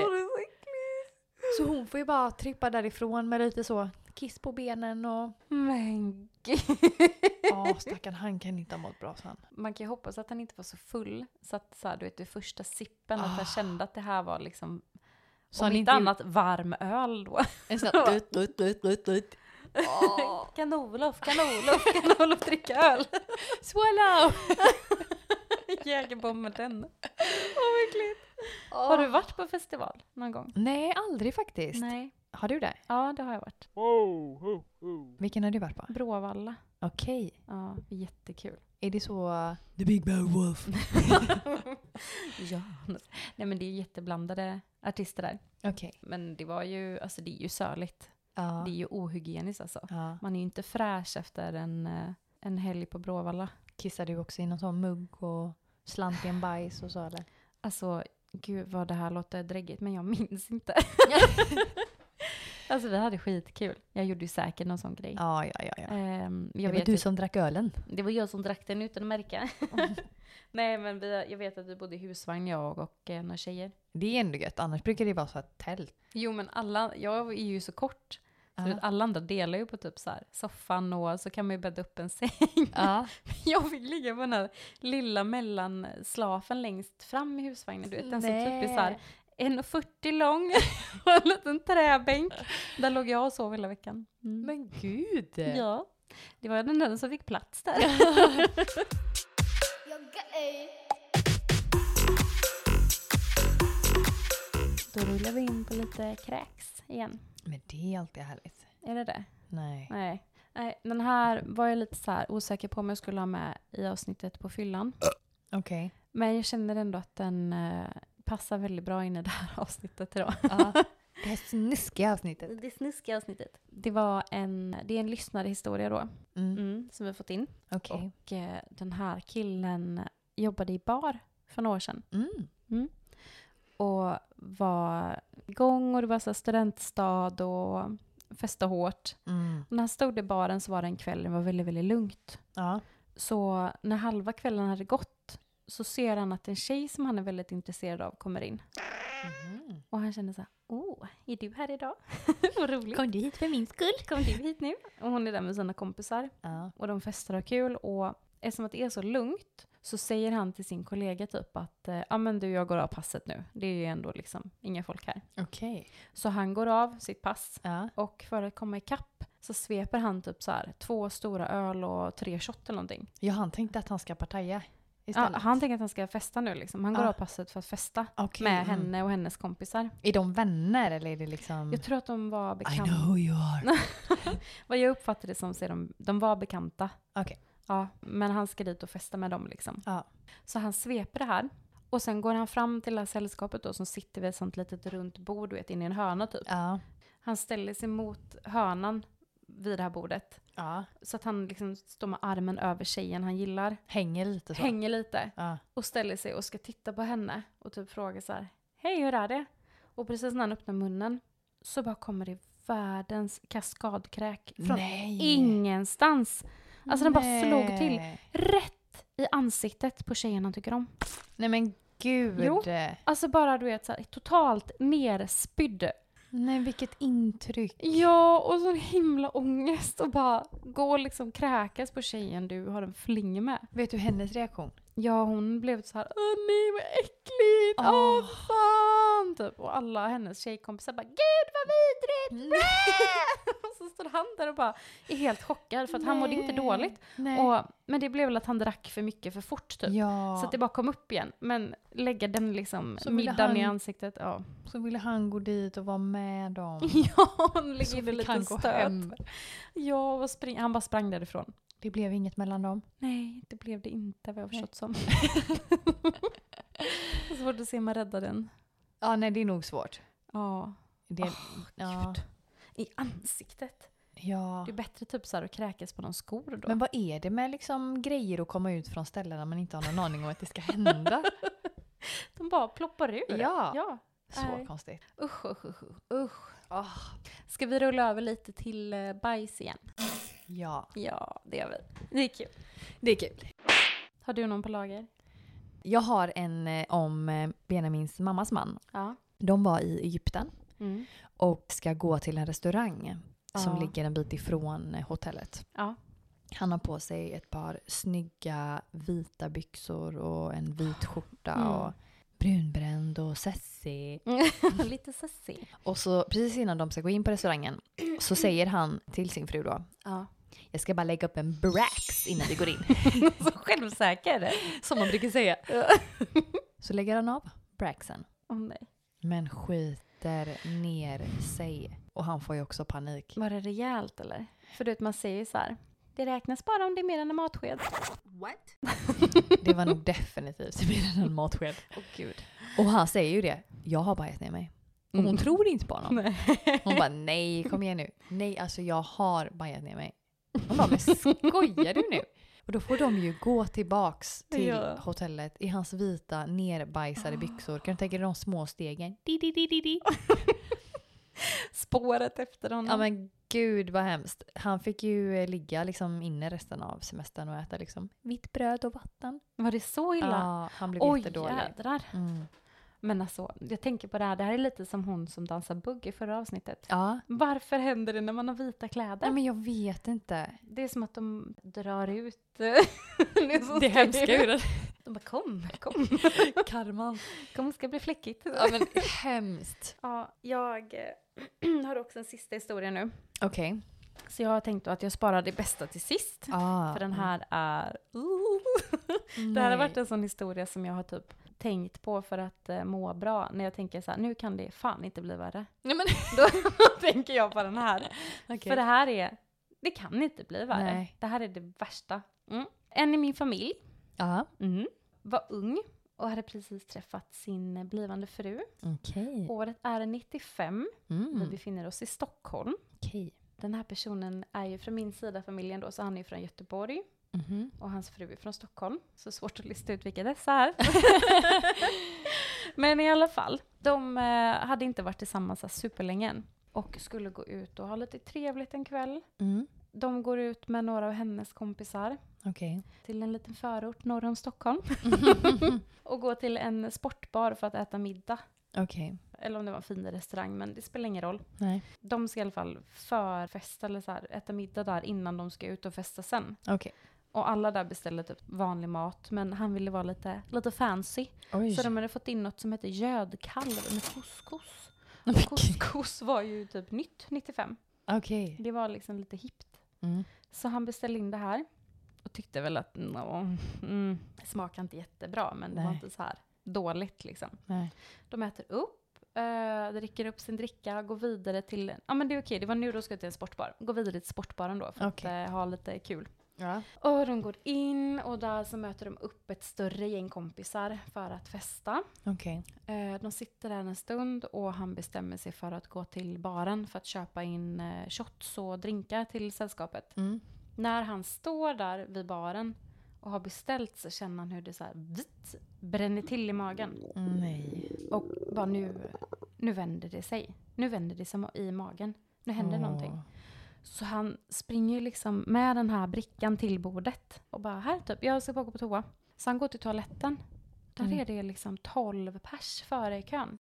Så hon får ju bara trippa därifrån med lite så kiss på benen och Men gud. ja, stackarn han kan inte ha mått bra sen. Man kan ju hoppas att han inte var så full så att så här, du vet, vid första sippen att Ah. han kände att det här var liksom Så om han inte inte annat varm öl då. En sån här dut, dut, dut, dut, dut. Kan Olof, kan Olof, kan Olof dricka öl? Swallow! Jägerbomben den. Åh, äckligt. Har du varit på festival någon gång? Nej, aldrig faktiskt. Nej. Har du det? Ja, det har jag varit. Vilken har du varit på? Bråvalla. Okej. Ja, jättekul. Är det så... The Big Bad Wolf. Ja. Nej men det är jätteblandade artister där. Okej. Men det var ju, alltså det är ju sörligt. Ja. Det är ju ohygieniskt alltså. ja. Man är ju inte fräsch efter en, eh, en helg på Bråvalla. Kissar du också i någon sån mugg och slant i en bajs och så eller? Alltså, gud vad det här låter dräggigt men jag minns inte. alltså vi hade skitkul. Jag gjorde ju säkert någon sån grej. Ja, ja, ja. ja. Ehm, Det jag var vet du ju- som drack ölen. Det var jag som drack den utan att märka. Nej men vi, jag vet att vi bodde i husvagn jag och eh, några tjejer. Det är ändå gött, annars brukar det vara så här tält. Jo men alla, jag är ju så kort. Så Ja. du vet, alla andra delar ju på typ så här, soffan och så kan man ju bädda upp en säng. Ja. Jag fick ligga på den här lilla mellanslafen längst fram i husvagnen. Du vet den som typ är så här 1,40 lång och en liten träbänk. Där låg jag och sov hela veckan. Mm. Men gud! Ja, det var den enda som fick plats där. Då rullar vi in på lite kräks igen. Men det är alltid härligt. Är det det? Nej. Nej. Nej, den här var jag lite så här osäker på om jag skulle ha med i avsnittet på fyllan. Okej. Men jag känner ändå att den eh, passar väldigt bra in i det här avsnittet idag. Ja. Det här snuskiga avsnittet. Det snuskiga avsnittet. Det var en, det är en lyssnarhistoria då, Mm. mm, som vi har fått in. Okej. Och eh, den här killen jobbade i bar för några år sedan. Mm. och var igång och det var så här studentstad och festade hårt. Mm. Och när han stod i baren så var det en kväll, det var väldigt, väldigt lugnt. Ja. Så när halva kvällen hade gått så ser han att en tjej som han är väldigt intresserad av kommer in. Mhm. Och han känner så här, åh, är du här idag? Vad roligt. Kom, du hit för min skull? kom du hit nu? Och hon är där med sina kompisar Ja. och de festar och har kul. Och eftersom att det är så lugnt så säger han till sin kollega typ att, eh, ja men du jag går av passet nu. Det är ju ändå liksom inga folk här. Okej. Så han går av sitt pass Ja. och för att komma ikapp så sveper han typ så här två stora öl och tre shot eller någonting. ja, han tänkte att han ska partaja Ja, istället. han tänker att han ska festa nu liksom. Han går Ja. av passet för att festa Okej, med mm. henne och hennes kompisar. Är de vänner eller är det liksom... Jag tror att de var I bekanta. know who you are. Vad jag uppfattade som så är de, de var bekanta. Okej. Ja, men han ska dit och festa med dem liksom. Ja. Så han sveper det här. Och sen går han fram till det här sällskapet då som sitter vid ett sånt litet runt bord, du vet, inne i en hörna typ. Ja. Han ställer sig mot hörnan vid det här bordet. ja. Så att han liksom står med armen över tjejen han gillar. Hänger lite så. Hänger lite Ja. och ställer sig och ska titta på henne och typ fråga så här. Hej, hur är det? Och precis när han öppnar munnen så bara kommer det världens kaskadkräk från Nej. ingenstans. Alltså den bara slog till Nej. rätt i ansiktet på tjejen han tycker om. Nej men gud. Jo. Alltså bara du vet så här, totalt nerspydd. Nej vilket intryck. Ja, och så himla ångest och bara gå och liksom kräkas på tjejen du har en fling med. Vet du hennes reaktion? Ja, hon blev så här åh nej vad äckligt, åh Åh. fan! Typ. Och alla hennes tjejkompisar bara gud vad vidrigt! Nej. blä! och så stod han där och bara är helt chockad för att han mådde inte Nej. dåligt. Nej. Och, men det blev väl att han drack för mycket för fort typ. ja. Så att det bara kom upp igen. Men lägga den liksom Så ville middagen i han- ansiktet. Ja, Så ville han gå dit och vara med dem. ja hon Så lägger in en fick han liten gå stöt. hem. Ja, och spring, han bara sprang därifrån. Det blev inget mellan dem. Nej, det blev det inte vad jag har förstått som. Svårt att se om man räddar den. Ja, nej det är nog svårt. Ja, Det, Åh, ja, gud. I ansiktet. ja. Det är bättre typ så här att kräkas på någon skor då. Men vad är det med liksom grejer att komma ut från ställen när man inte har någon aning om att det ska hända? De bara ploppar ur. Ja. ja. Så Nej. konstigt. Usch, usch, usch, usch, usch. Ska vi rulla över lite till eh, bajs igen? Ja. Ja, det gör vi. Det är kul. Det är kul. Har du någon på lager? Jag har en eh, om eh, Benjamins mammas man. Ja. De var i Egypten Mm. och ska gå till en restaurang som Ja. ligger en bit ifrån eh, hotellet. Ja. Han har på sig ett par snygga vita byxor och en vit skjorta Mm. och brunbränd och sessig. Lite sassig. Och så precis innan de ska gå in på restaurangen så säger han till sin fru då Ja. jag ska bara lägga upp en brax innan vi går in. Så självsäker. Som man brukar säga. så lägger han av braxen. Åh nej. Men skiter ner sig. Och han får ju också panik. Var det rejält eller? För du vet, man säger ju så här. Det räknas bara om det är mer än en matsked. Det var nog definitivt mer än en matsked. Åh gud. Och han säger ju det. Jag har bajat ner mig. Och hon Mm. tror inte på honom. Nej. Hon bara nej, kom igen nu. Nej, alltså jag har bajat ner mig. Hon bara men skojar du nu? Och då får de ju gå tillbaks till Ja. hotellet i hans vita nerbajsade byxor. Kan du tänka dig de små stegen? Spåret efter honom. Ja men gud vad hemskt. Han fick ju eh, ligga liksom inne resten av semestern och äta liksom vitt bröd och vatten. Var det så illa? Ja, han blev Oj jättedålig. jädrar. Mm. Men alltså, jag tänker på det här. Det här är lite som hon som dansar bugg i förra avsnittet. Ja. Varför händer det när man har vita Nej kläder? men jag vet inte. Det är som att de drar ut Det är hemska ur det. De bara kom, kom, Karman. kom ska bli fläckigt. Ja men hemskt. Ja, jag eh, har också en sista historia nu. Okej. Så jag har tänkt att jag sparar det bästa till sist. Ah. För den här är... uh, Det här har Nej. varit en sån historia som jag har typ tänkt på för att eh, må bra. När jag tänker så här, nu kan det fan inte bli värre. Nej men Då tänker jag på den här. Okej. För det här är, det kan inte bli värre. Nej. Det här är det värsta. Mm. En i min familj Ja. var ung och hade precis träffat sin blivande fru. Okej. Året är 95, vi Mm. befinner oss i Stockholm. Okej. Den här personen är ju från min sida av familjen då, så han är ju från Göteborg Mhm. och hans fru är från Stockholm. Så svårt att lista ut vilka dessa är. Men i alla fall, de eh, hade inte varit tillsammans så här superlänge än och skulle gå ut och ha lite trevligt en kväll. Mm. De går ut med några av hennes kompisar Okej. till en liten förort norr om Stockholm och går till en sportbar för att äta middag. Okej. Eller om det var en fin restaurang, men det spelar ingen roll. Nej. De ska i alla fall förfesta eller så här, äta middag där innan de ska ut och festa sen. Okej. Och alla där beställde typ vanlig mat, men han ville vara lite, lite fancy. Oj. Så de hade fått in något som hette gödkalv med couscous. Men Och gud. couscous var ju typ nytt 95. Okej. Det var liksom lite hippt. Mm. Så han beställde in det här och tyckte väl att nå, mm, smakade inte jättebra men det var Nej. inte så här dåligt liksom. Nej. De äter upp, eh, dricker upp sin dricka, går vidare till, ja men det är okej, det var nu de skulle till en sportbar. Går vidare till sportbaren då för Okej. att eh, ha lite kul. Ja. Och de går in och där så möter de upp ett större gäng kompisar för att festa. Okej. Eh, de sitter där en stund och han bestämmer sig för att gå till baren för att köpa in eh, shots och drinkar till sällskapet. Mm. När han står där vid baren och har beställt så känner han hur det så här vitt bränner till i magen. Nej. Och bara nu, nu vänder det sig. Nu vänder det sig i magen. Nu händer Åh. någonting. Så han springer ju liksom med den här brickan till bordet och bara här typ, jag ska bara gå på toa. Så han går till toaletten. Där Mm. är det liksom 12 pers före i kön.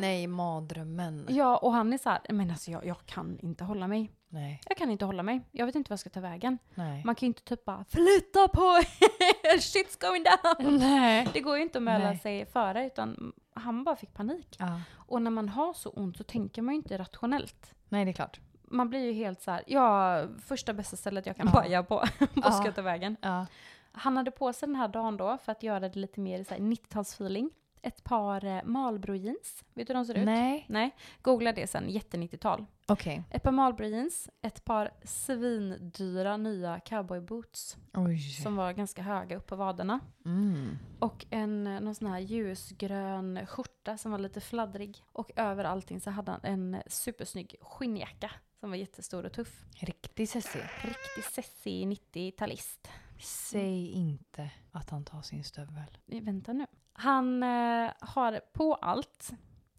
Nej, mardrömmen. Ja, och han är så här, men alltså jag, jag kan inte hålla mig. Nej. Jag kan inte hålla mig. Jag vet inte vad jag ska ta vägen. Nej. Man kan ju inte typ bara flytta på er, shit's going down. Nej. Det går ju inte att mäla Nej. sig före utan han bara fick panik. Ja. Och när man har så ont så tänker man ju inte rationellt. Nej, det är klart. man blir ju helt så här, ja, första bästa stället jag kan Ja. baja på, Ja. Påskötavägen. Ja. Han hade på sig den här dagen då, för att göra det lite mer i så här 90-talsfeeling, ett par eh, Marlboro jeans. Vet du hur de ser ut? Nej. Nej. Googla det sen, jätte 90-tal. Okej. Ett par Marlboro jeans, ett par svindyra nya cowboyboots Oj. som var ganska höga upp på vaderna. Mm. Och en eh, någon sån här ljusgrön skjorta som var lite fladdrig. Och över allting så hade han en supersnygg skinnjacka som var jättestor och tuff. Riktigt sessig. Riktig sessig 90-talist. Säg inte att han tar sin stövel. Nej, Vänta nu. Han eh, har på allt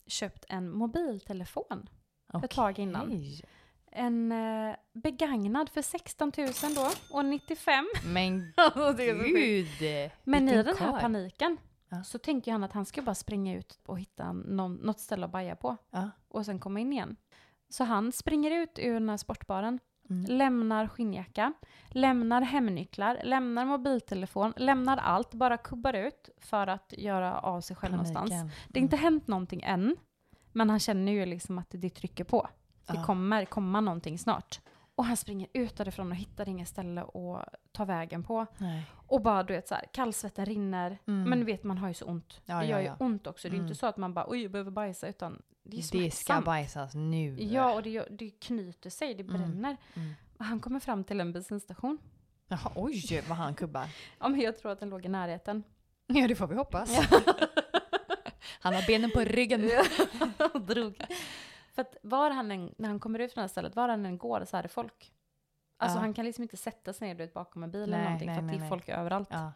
köpt en mobiltelefon. Ett tag innan. Okej. En eh, begagnad för 16 000 då, år 95. Men det är så gud! Men i vilken den här karl. paniken Ja. så tänker han att han ska bara springa ut och hitta någon, något ställe att baja på. Ja. och sen komma in igen. Så han springer ut ur den här sportbaren, Mm. lämnar skinnjackan, lämnar hemnycklar, lämnar mobiltelefon, lämnar allt, bara kubbar ut för att göra av sig själv någonstans. Paniken. Mm. Det har inte hänt någonting än, men han känner ju liksom att det trycker på. Det Ja. kommer komma någonting snart. Och han springer ut därifrån och hittar inget ställe att ta vägen på. Mm. Nej. Och bara du vet så här, kallsvetten rinner. Mm. Men du vet man har ju så ont. Ja, det ja, gör ju ja. ont också. Det är ju Mm. inte så att man bara oj jag behöver bajsa utan det är ju Det ska smärtsamt. bajsas nu. Ja, och det, gör- det knyter sig, det Mm. bränner. Mm. Och Han kommer fram till en bensinstation. Jaha, oj, vad han kubbar. Ja, men jag tror att den låg i närheten. Ja, det får vi hoppas. han har benen på ryggen. Och drog. För att var han än, när han kommer ut från det här stället, var han än går så är det folk. Alltså Ja. han kan liksom inte sätta sig ner du vet, bakom en bil eller Nej, någonting nej, för att nej, det är nej. folk överallt. Ja.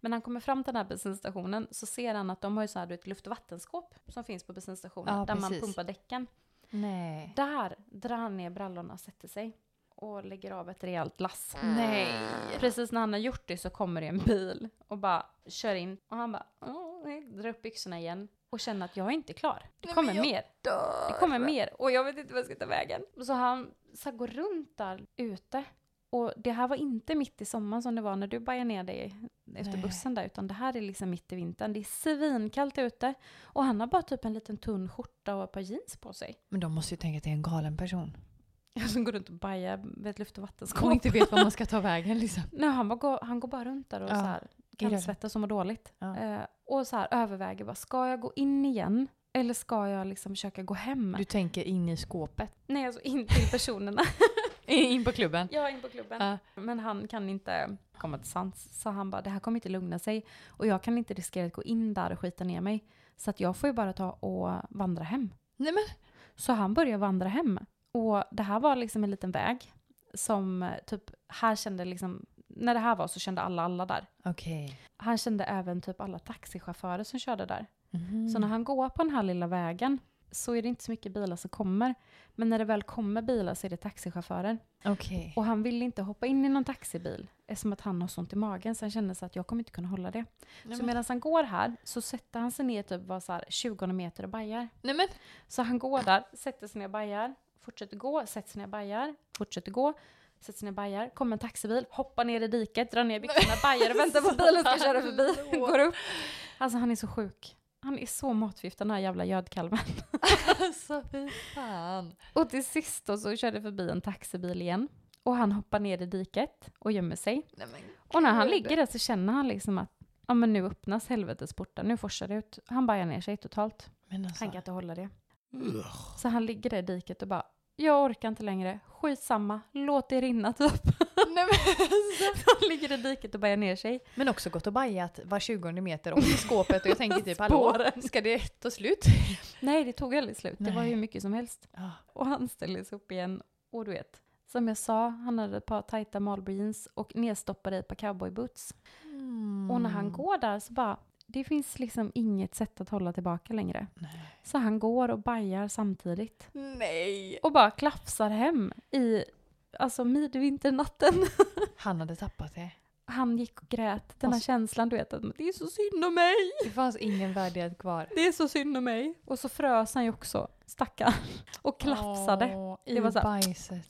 Men när han kommer fram till den här bensinstationen så ser han att de har ju så här, du vet, luft och vattenskåp som finns på bensinstationen Ja, där man precis. pumpar däcken. Nej. Där drar han ner brallorna och sätter sig och lägger av ett rejält lass. Mm. Nej. Precis när han har gjort det så kommer det en bil och bara kör in. Och han bara "Åh, nej", drar upp byxorna igen och känner att jag är inte klar. Det Nej, kommer men jag mer. Det kommer mer och jag vet inte vad jag ska ta vägen. Så han så här, går runt där ute. Och det här var inte mitt i sommaren som det var när du bajade ner dig efter Nej. bussen där. Utan det här är liksom mitt i vintern. Det är svinkallt ute. Och han har bara typ en liten tunn skjorta och ett par jeans på sig. Men de måste ju tänka att det är en galen person. Som går runt och bajar med ett luft och Och vattenskåp. inte vet vad man ska ta vägen liksom. Nej, han, bara går, han går bara runt där och Ja. så här, kallsvettas som mår dåligt. Ja. Eh, och så här överväger bara, ska jag gå in igen? Eller ska jag liksom försöka gå hem? Du tänker in i skåpet. Nej, alltså in till personerna. In på klubben. jag är in på klubben. Ja. Men han kan inte komma till sans. Så han bara, det här kommer inte lugna sig. Och jag kan inte riskera att gå in där och skita ner mig. Så att jag får ju bara ta och vandra hem. Nej men. Så han började vandra hem. Och det här var liksom en liten väg. Som eh, typ, här kände liksom, när det här var så kände alla alla där. Okej. Han kände även typ alla taxichaufförer som körde där. Mhm. Så när han går på den här lilla vägen så är det inte så mycket bilar som kommer. Men när det väl kommer bilar så är det taxichaufförer. Okej. Och han vill inte hoppa in i någon taxibil eftersom att han har sånt i magen. Så han känner sig att jag kommer inte kunna hålla det. Nej, så men- medan han går här så sätter han sig ner typ var så här 20 meter och bajar. Nej men. Så han går där, sätter sig ner och bajar, fortsätter gå, sätter sig ner och bajar, fortsätter gå, sätter sig ner och bajar, kommer en taxibil, hoppar ner i diket, drar ner byxorna, bajar och väntar på att bilen ska köra förbi, går upp. Alltså han är så sjuk. Han är så matförgiftad den här jävla gödkalven. Alltså fy fan. Och till sist då så körde förbi en taxibil igen. Och han hoppar ner i diket och gömmer sig. Nej men. Och när han Gud. ligger där så känner han liksom att ja men nu öppnas helvetes portar, nu forsar det ut. Han bajar ner sig totalt. Men alltså. Han kan inte hålla det. Ugh. Så han ligger där i diket och bara jag orkar inte längre, skitsamma, låt det rinna typ. Nej, men, Han ligger i diket och bajar ner sig. men också gått och bajat var 20 meter och i skåpet och jag tänker typ hallå, ska det ta slut? Nej, det tog aldrig slut. Det var Nej. hur mycket som helst. Ja. Och han ställer sig upp igen. Och du vet, som jag sa, han hade ett par tajta Marlboro jeans och nedstoppade i ett par cowboyboots. Mm. Och när han går där så bara, det finns liksom inget sätt att hålla tillbaka längre. Nej. Så han går och bajar samtidigt. Nej. Och bara klafsar hem i, alltså midvinternatten. Han hade tappat det. Han gick och grät. Den här Och så- känslan, du vet, att det är så synd om mig. Det fanns ingen värdighet kvar. Det är så synd om mig. Och så frös han ju också, stackarn. Och klafsade. Åh, Det I var så här- bajset.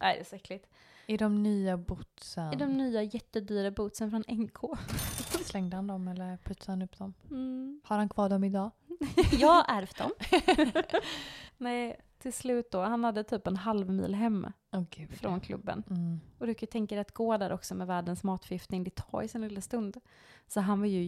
Nej, det är så äckligt. Mm. I de nya bootsen. I de nya jättedyra bootsen från NK. Slängde han dem eller putsade han upp dem? Mm. Har han kvar dem idag? Jag har ärvt dem. Nej, till slut då, han hade typ en halv mil hem Åh gud. från klubben. Mm. Och du kan ju tänka dig att gå där också med världens matförgiftning, det tar ju sin lilla stund. Så han var ju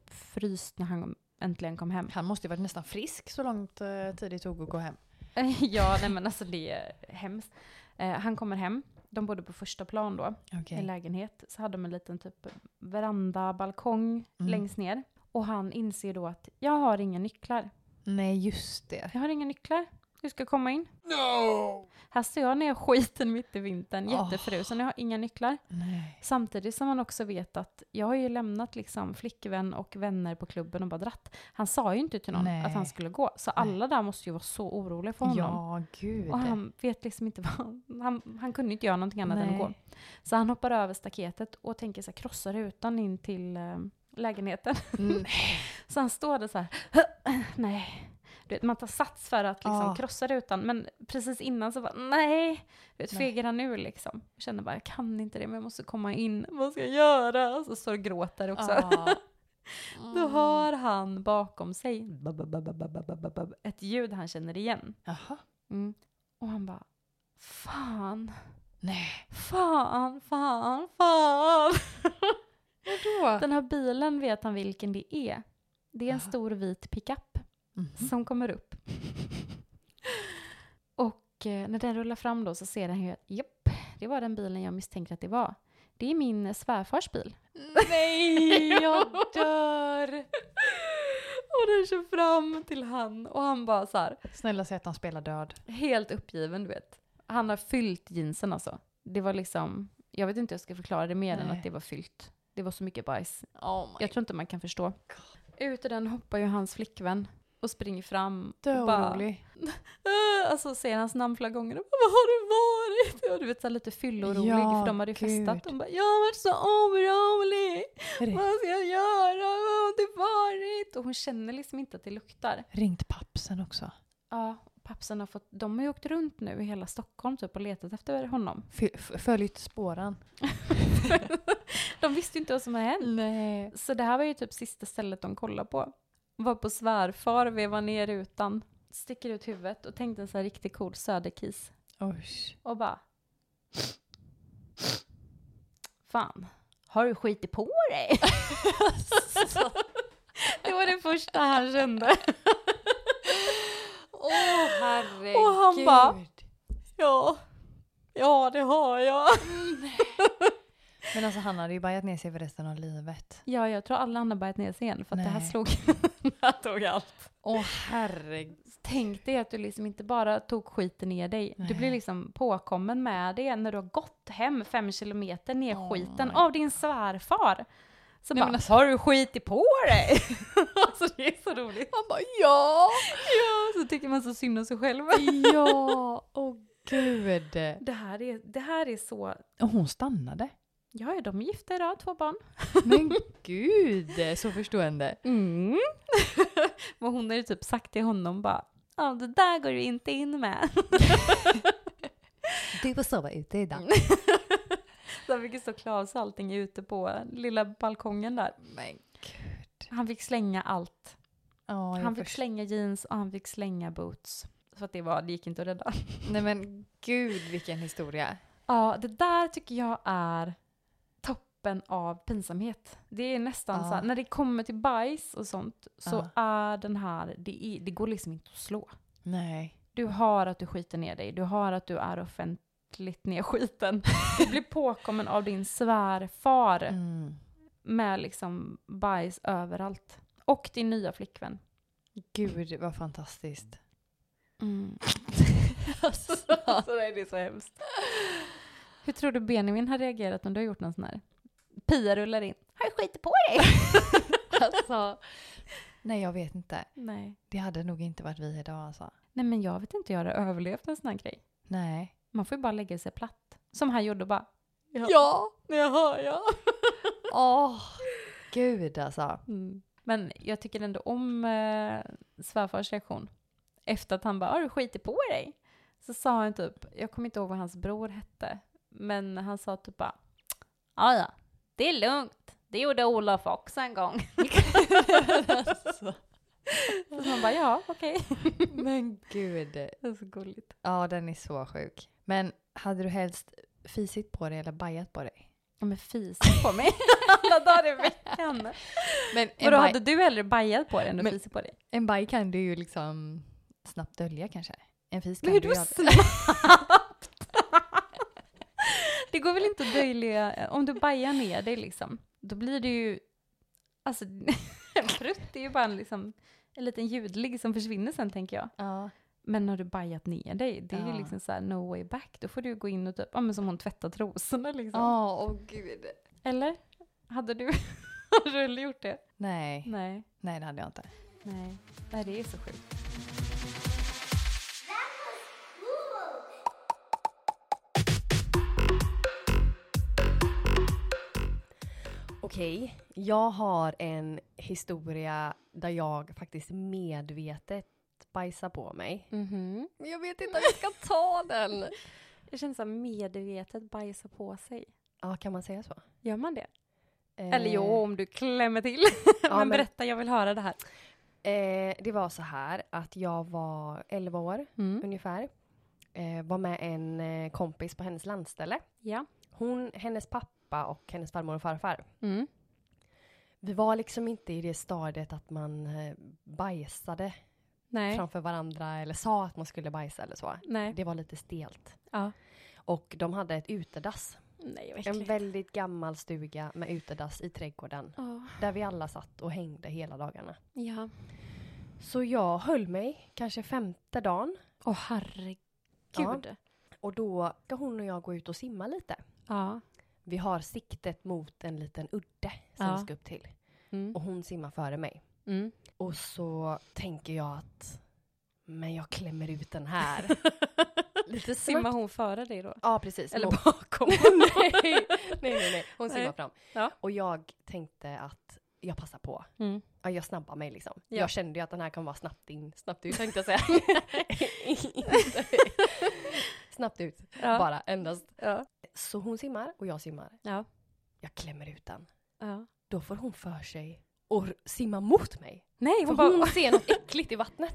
djupfryst när han äntligen kom hem. Han måste ju varit nästan frisk så långt eh, tid det tog att gå hem. ja, nej men alltså det är hemskt. Eh, han kommer hem, de bodde på första plan då, i Okej. lägenhet. Så hade de en liten typ veranda, balkong Mm. längst ner. Och han inser då att jag har inga nycklar. Nej, just det. Jag har inga nycklar. Du ska komma in. No! Här står jag när jag skiten mitt i vintern, Åh. jättefrusen, jag har inga nycklar. Nej. Samtidigt som han också vet att jag har ju lämnat liksom flickvän och vänner på klubben och bara dratt. Han sa ju inte till någon Nej. att han skulle gå, så alla där måste ju vara så oroliga för honom. Ja, gud. Och han vet liksom inte vad han, han, han kunde inte göra någonting annat än Nej. att gå. Så han hoppar över staketet och tänker så här, krossa rutan in till eh, lägenheten. Mm. Så han står där så här, nej. Du vet, man tar sats för att liksom Ah. krossa rutan, men precis innan så bara, nej. Du vet, Nej. fegar han ur liksom. Jag känner bara, jag kan inte det, men jag måste komma in. Vad ska jag göra? Och så står och gråter också. Ja. Då hör han bakom sig ba, ba, ba, ba, ba, ba, ba, ba, ba, ett ljud han känner igen. Jaha. Mm. Och han bara, fan, Nej. fan, fan, fan. Vadå? Den här bilen vet han vilken det är. Det är en Jaha. stor vit pickup Mhm. som kommer upp. Och eh, när den rullar fram då så ser han ju att japp, det var den bilen jag misstänker att det var. Det är min eh, svärfars bil. Nej, Jo. jag dör! Och den kör fram till han och han bara så här, Snälla säg att han spelar död. helt uppgiven du vet. Han har fyllt jeansen alltså. Det var liksom, jag vet inte hur jag ska förklara det mer än Nej. att det var fyllt. Det var så mycket bajs Oh my Jag tror inte man kan förstå. Ut ur den hoppar ju hans flickvän och springer fram. och bara, Döorolig. "Åh!" Alltså säger hans namn flera gånger. Och bara, Vad har du varit? Och du vet så här lite fyllorolig Ja, för de hade ju gud. festat. Hon bara, jag har varit så orolig. Ri- Vad ska jag göra? Vad har det varit? Och hon känner liksom inte att det luktar. Ringt pappsen också. Ja, pappsen har fått, de har ju åkt runt nu i hela Stockholm typ och letat efter honom. Fy- f- Följt spåren. de visste ju inte vad som hade hänt. Nej. Så det här var ju typ sista stället de kollade på. Var på svärfar, vevar ner rutan, sticker ut huvudet och tänkte en så här riktigt cool söderkis. Usch. Och bara... Fan, har du skitit på dig? det var det första han kände. Åh oh, herregud. Och han bara- Ja, ja det har jag. Men alltså han hade ju bajat ner sig för resten av livet. Ja, jag tror alla andra börjat ner sig igen för att det här Nej. slog... det här tog allt. Åh oh, herregud. Tänk dig att du liksom inte bara tog skiten ner dig, du blir Nej. liksom påkommen med det när du har gått hem fem kilometer ner Oh skiten my av din svärfar. Så Nej, bara, men alltså- har du skitit på dig? alltså det är så roligt. Han bara ja. Så tycker man så synd om sig själv. ja. Åh oh, gud. Det här är, det här är så, Och hon stannade. ja ja, de är gifta idag, har två barn. Men gud. Så förstående. Mm. Men hon har ju typ sagt till honom bara, ja det där går du inte in med. Du får sova ute idag. Så han fick ju stå klar så allting är ute på lilla balkongen där. Men gud. Han fick slänga allt. Ja, jag Han fick förstår. slänga jeans och han fick slänga boots. Så att det, var, det gick inte att rädda. Nej men gud vilken historia. Ja, det där tycker jag är toppen av pinsamhet. Det är nästan Ja. så här, när det kommer till bajs och sånt så Ja. är den här, det, är, det går liksom inte att slå. Nej. Du har att du skiter ner dig, du har att du är offentligt nedskiten. Du blir påkommen av din svärfar Mm. med liksom bajs överallt. Och din nya flickvän. Gud vad fantastiskt. Mm. alltså, nej, det är så hemskt. Hur tror du Benjamin har reagerat om du har gjort någon sån här? Pia rullar in. Har jag skitit på dig? Alltså. Nej jag vet inte. Nej. Det hade nog inte varit vi idag alltså. Nej men jag vet inte, jag hade överlevt en sån här grej. Nej. Man får ju bara lägga sig platt. Som han gjorde och bara. Ja! Det hör jag. Åh! gud alltså. Mm. Men jag tycker ändå om eh, svärfars reaktion. Efter att han bara har du skitit på dig? Så sa han typ, jag kommer inte ihåg vad hans bror hette, men han sa typ bara "Ja, ja, Alltså. det är lugnt. Det gjorde Olof också en gång. Så man bara, ja okej. Men gud. Det är så gulligt. Ja, den är så sjuk. Men hade du helst fisit på dig eller bajat på dig? Ja men fis på mig alla dagar i veckan. Men en, Vadå, baj, hade du hellre bajat på dig än att Men- fisit på dig? en baj kan du ju liksom snabbt dölja kanske. En fis kan Men hur du då ju aldrig- snabbt? det går väl inte att dölja, eh, om du bajar ner dig liksom, då blir det ju, alltså en prutt är ju bara en, liksom, en liten ljudlig som försvinner sen tänker jag. Ja. Men har du bajat ner dig, det är Ja. ju liksom så här no way back, då får du ju gå in och typ, ja men som hon tvättar trosorna liksom. Ja, åh gud. Eller? Hade du, hade du hellre gjort det? Nej, Nej. nej det hade jag inte. Nej. Nej, det är så sjukt. Okej, jag har en historia där jag faktiskt medvetet bajsar på mig. Mhm. Men jag vet inte om jag ska ta den. Det känns som medvetet bajsa på sig. Ja, kan man säga så? Gör man det? Eh, Eller jo, om du klämmer till. men, men- berätta, jag vill höra det här. Eh, det var så här att jag var 11 år Mm. ungefär. Eh, var med en eh, kompis på hennes landställe. Ja. Hon, hennes pappa och hennes farmor och farfar. Mm. Vi var liksom inte i det stadiet att man eh, bajsade Nej. framför varandra eller sa att man skulle bajsa eller så. Nej. Det var lite stelt. Ja. Och de hade ett utedass. Nej, vad En äckligt. väldigt gammal stuga med utedass i trädgården. Ja. Där vi alla satt och hängde hela dagarna. Ja. Så jag höll mig kanske femte dagen. Åh, herregud. Ja. Ja. Och då ska hon och jag gå ut och simma lite. ja. Vi har siktet mot en liten udde som Ja. vi ska upp till. Mm. Och hon simmar före mig. Mm. Och så tänker jag att men jag klämmer ut den här. lite Simmar snabbt. hon före dig då? Ja precis. Eller Hon- bakom? nej, nej, nej, nej. Hon simmar Nej. fram. Ja. Och jag tänkte att jag passar på. Mm. Ja, jag snabbar mig liksom. Ja. Jag kände ju att den här kan vara snabbt in, snabbt ut tänkte jag säga. snabbt ut, Ja. bara endast. Ja. Så hon simmar och jag simmar. Ja. Jag klämmer ut den. ja. Då får hon för sig och simma mot mig. Nej, För hon hon, bara... ser något äckligt i vattnet.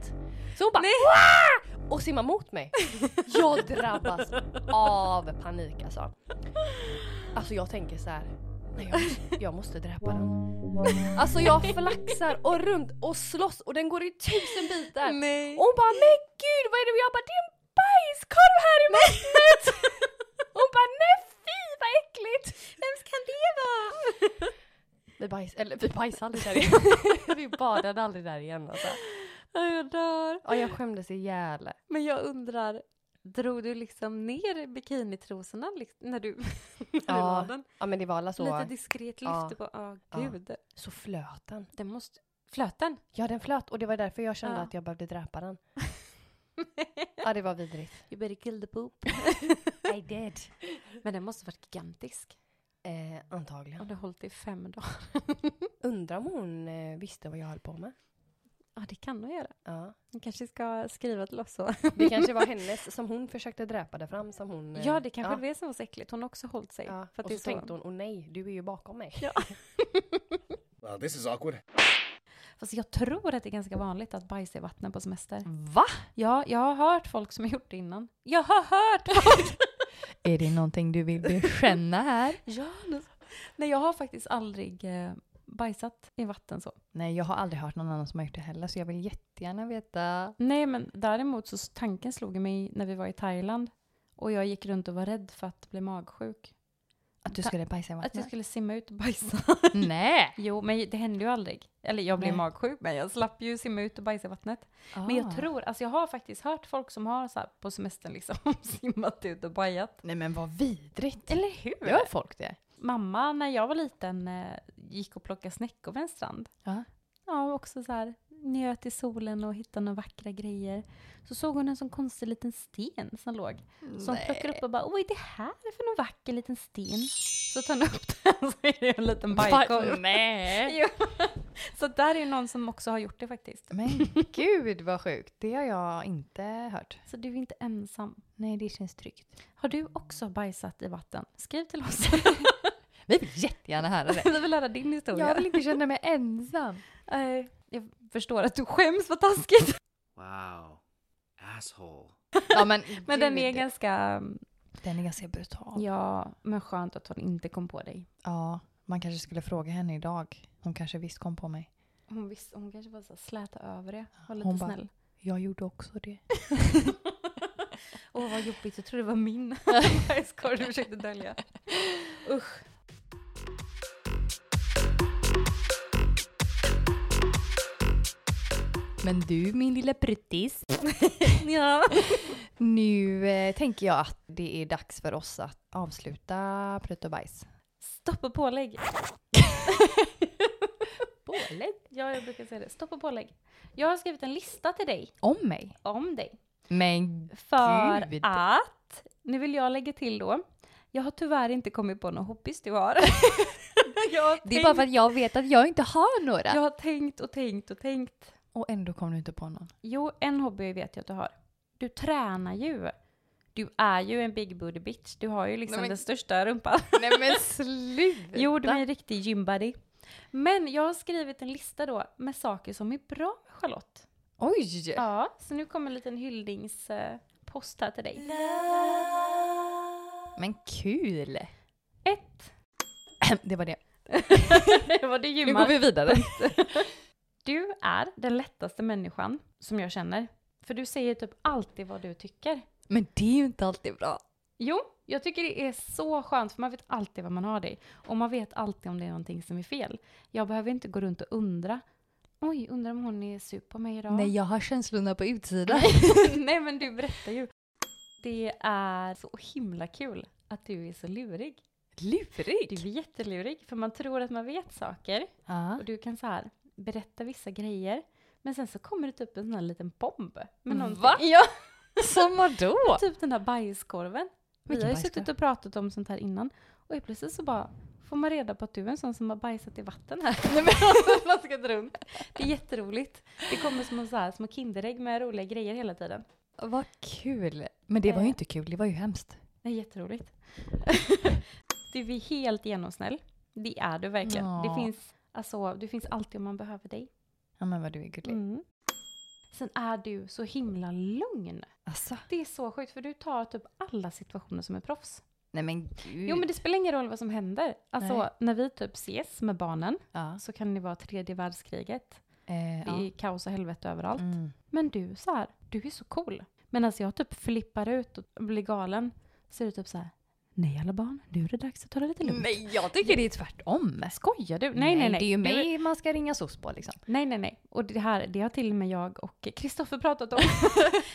Så hon bara Nej. "Wah!" och simmar mot mig. Jag drabbas av panik alltså. Alltså jag tänker så här. Nej, jag, måste, jag måste dräpa den. Alltså jag flaxar och runt och slåss och den går i tusen bitar. Nej. Och hon bara men gud vad är det? Och jag bara det är en bajskorv här i vattnet. Hon bara nej fy vad äckligt. Vems kan det vara? Vi bajs, eller vi bajsade aldrig där igen. vi badade aldrig där igen alltså. Ja, jag dör. Ja jag skämdes ihjäl. Men jag undrar, drog du liksom ner bikinitrosorna liksom, när du, när du la den? ja men det var alla så. Lite diskret lyfte Ja. på, ja Ja. gud. Så flöt den. Den måste... Flöten? Ja den flöt och det var därför jag kände Ja. att jag behövde dräpa den. ja det var vidrigt. You better kill the poop. I did. Men den måste varit gigantisk. Eh, antagligen. Om du hållit i fem dagar. Undrar om hon eh, visste vad jag höll på med. Ja, det kan du göra. Ja. Du kanske ska skriva till oss så. Det kanske var hennes som hon försökte dräpa det fram som hon... eh, Ja, det kanske det är som var så äckligt. Hon har också hållit sig. Ja. För att och det så, är så... tänkte hon, åh nej, du är ju bakom mig. Well, this is awkward. Fast jag tror att det är ganska vanligt att bajsa i vattnet på semester. Va? Ja, jag har hört folk som har gjort det innan. Jag har hört folk! Är det någonting du vill bekänna här? ja, nu... Nej, jag har faktiskt aldrig eh, bajsat i vatten så. Nej, jag har aldrig hört någon annan som har gjort det heller så jag vill jättegärna veta. Nej, men däremot så tanken slog mig när vi var i Thailand och jag gick runt och var rädd för att bli magsjuk. Att du skulle bajsa i Att jag vattnet? skulle simma ut och bajsa. Nej! Jo, men det hände ju aldrig. Eller jag blev Nej. magsjuk, men jag slapp ju simma ut och bajsa i vattnet. Ah. Men jag tror, alltså jag har faktiskt hört folk som har så här på semestern liksom simmat ut och bajat. Nej men vad vidrigt! Eller hur? Gör folk det? Mamma, när jag var liten, eh, gick och plockade snäckor vid en strand. Ja. Ja, och också så här njöt i solen och hittade några vackra grejer. Så såg hon en sån konstig liten sten som låg. Som hon plockar upp och bara, vad är det här för någon vacker liten sten? Så tar hon upp den så är det en liten bajkorv. Nej! Jo. Så där är ju någon som också har gjort det faktiskt. Men gud vad sjukt, det har jag inte hört. Så du är inte ensam. Nej, det känns tryggt. Har du också bajsat i vatten? Skriv till oss. Vi vill jättegärna höra det. Vi vill höra din historia. inte känna mig ensam. Nej. Jag förstår att du skäms för taskigt. Wow. Asshole. Ja, men Men den gud, är ganska, den är ganska brutal. Ja. ja, men skönt att hon inte kom på dig. man kanske skulle fråga henne idag. Hon kanske visst kom på mig. Hon, visste, hon kanske bara så här släta över det. Var lite Hon bara- snäll. Jag gjorde också det. Åh vad jobbigt, jag tror det var min. Jag skojar, du försökte dölja. Usch. Men du min lilla bruttis. Ja. Nu eh, tänker jag att det är dags för oss att avsluta Prutt och bajs. Stopp och pålägg. pålägg? Ja, jag brukar säga det. Stopp och pålägg. Jag har skrivit en lista till dig, Om mig. om dig. Men För Gud. att, nu vill jag lägga till då, jag har tyvärr inte kommit på någon hobbies du har. jag, har det är tänkt- bara för att jag vet att jag inte har några. jag har tänkt och tänkt och tänkt. Och ändå kom du inte på någon. Jo, en hobby vet jag att du har. Du tränar ju. Du är ju en big booty bitch. Du har ju liksom Nej, men- den största rumpan. Nej men sluta! Jo, du är en riktig gymbody. Men jag har skrivit en lista då med saker som är bra med Charlotte. Oj! Ja, så nu kommer en liten hyllningspost här till dig. Men kul! Ett. Det var det. Var det Nu går gymmar? vi vidare. Du är den lättaste människan som jag känner. För du säger typ alltid vad du tycker. Men det är ju inte alltid bra. Jo, jag tycker det är så skönt för man vet alltid vad man har dig. Och man vet alltid om det är någonting som är fel. Jag behöver inte gå runt och undra. Oj, undrar om hon är sur på mig idag. Nej, jag har känslorna på utsidan. Nej men du berättar ju. Det är så himla kul att du är så lurig. Du är Lurig! jättelurig för man tror att man vet saker Ja. och du kan så här berätta vissa grejer men sen så kommer det typ en sån här liten bomb. Med Mm. någonting. Va? Ja, Som vadå? typ den där bajskorven. Vi Vilken har ju bajskorv? suttit och pratat om sånt här innan och helt plötsligt så bara får man reda på att du är en sån som har bajsat i vatten här. Nej, men alltså, man ska dra runt. Det är jätteroligt. Det kommer små, så här, små kinderägg med roliga grejer hela tiden. Vad kul! Men Eh. det var ju inte kul, det var ju hemskt. Det är jätteroligt. du är helt genomsnäll. Det är du verkligen. Ja. Det, finns, alltså, det finns alltid om man behöver dig. Ja men vad du är gullig. Mm. Sen är du så himla lugn. Alltså. Det är så sjukt för du tar typ alla situationer som är proffs. Nej men gud. Jo men det spelar ingen roll vad som händer. Alltså Nej. när vi typ ses med barnen Ja. så kan det vara tredje världskriget. Eh, Det ja. är kaos och helvete överallt. Mm. Men du så här, du är så cool. Men alltså jag typ flippar ut och blir galen. Så är du typ så här, nej alla barn, nu är det dags att ta det lite lugnt. Nej jag tycker det är tvärtom. Skojar du? Nej, nej, nej. Det är ju Du- mig man ska ringa soc på liksom. Nej, nej, nej. Och det här, det har till och med jag och Kristoffer pratat om.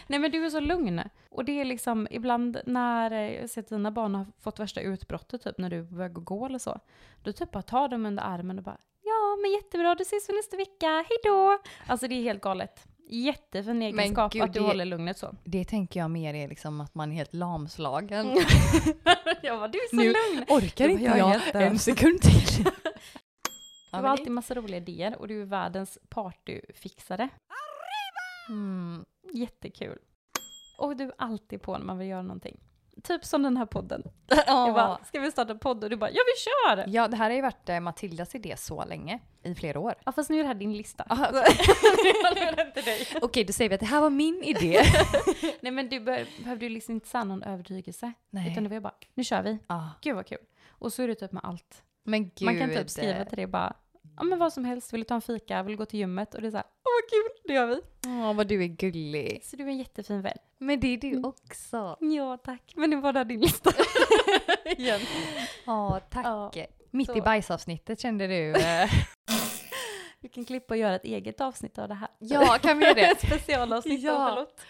nej, men du är så lugn. Och det är liksom ibland när eh, jag ser att dina barn har fått värsta utbrottet, typ när du börjar gå eller så. Du typ bara tar dem under armen och bara, ja, men jättebra, du ses vi nästa vecka, hej då! Alltså det är helt galet. Jättefin egenskap gud, att du det- håller lugnet så. Det tänker jag mer är liksom att man är helt lamslagen. jag bara, du är så Nu- lugn! Orkar Det inte var jag jag en sekund till. Du har alltid massa roliga idéer och du är världens partyfixare. Mm. Jättekul. Och du är alltid på när man vill göra någonting. Typ som den här podden. Jag Ja. bara, ska vi starta en podd? Och du bara, ja vi kör! ja, det här har ju varit eh, Matildas idé så länge, i flera år. Ja fast nu är det här din lista. Okej, då säger vi att det här var min idé. Nej men du be- behövde ju liksom inte säga någon övertygelse. Nej. Utan det var ju bara, nu kör vi. Ja. Gud vad kul. Och så är det typ med allt. Men gud. eh. Man kan typ skriva till dig bara, ja men vad som helst, vill du ta en fika, vill du gå till gymmet? Och det är så här, åh vad kul, det gör vi. Åh, vad du är gullig. Mm. Så du är en jättefin vän. Men det är du också. Ja tack, men nu var det här din lista. Igen. Ja, tack. Ja, Mitt i så- bajsavsnittet kände du. eh, Vi kan klippa och göra ett eget avsnitt av det här. ja, kan vi göra det? Specialavsnitt Ja. av Charlotte.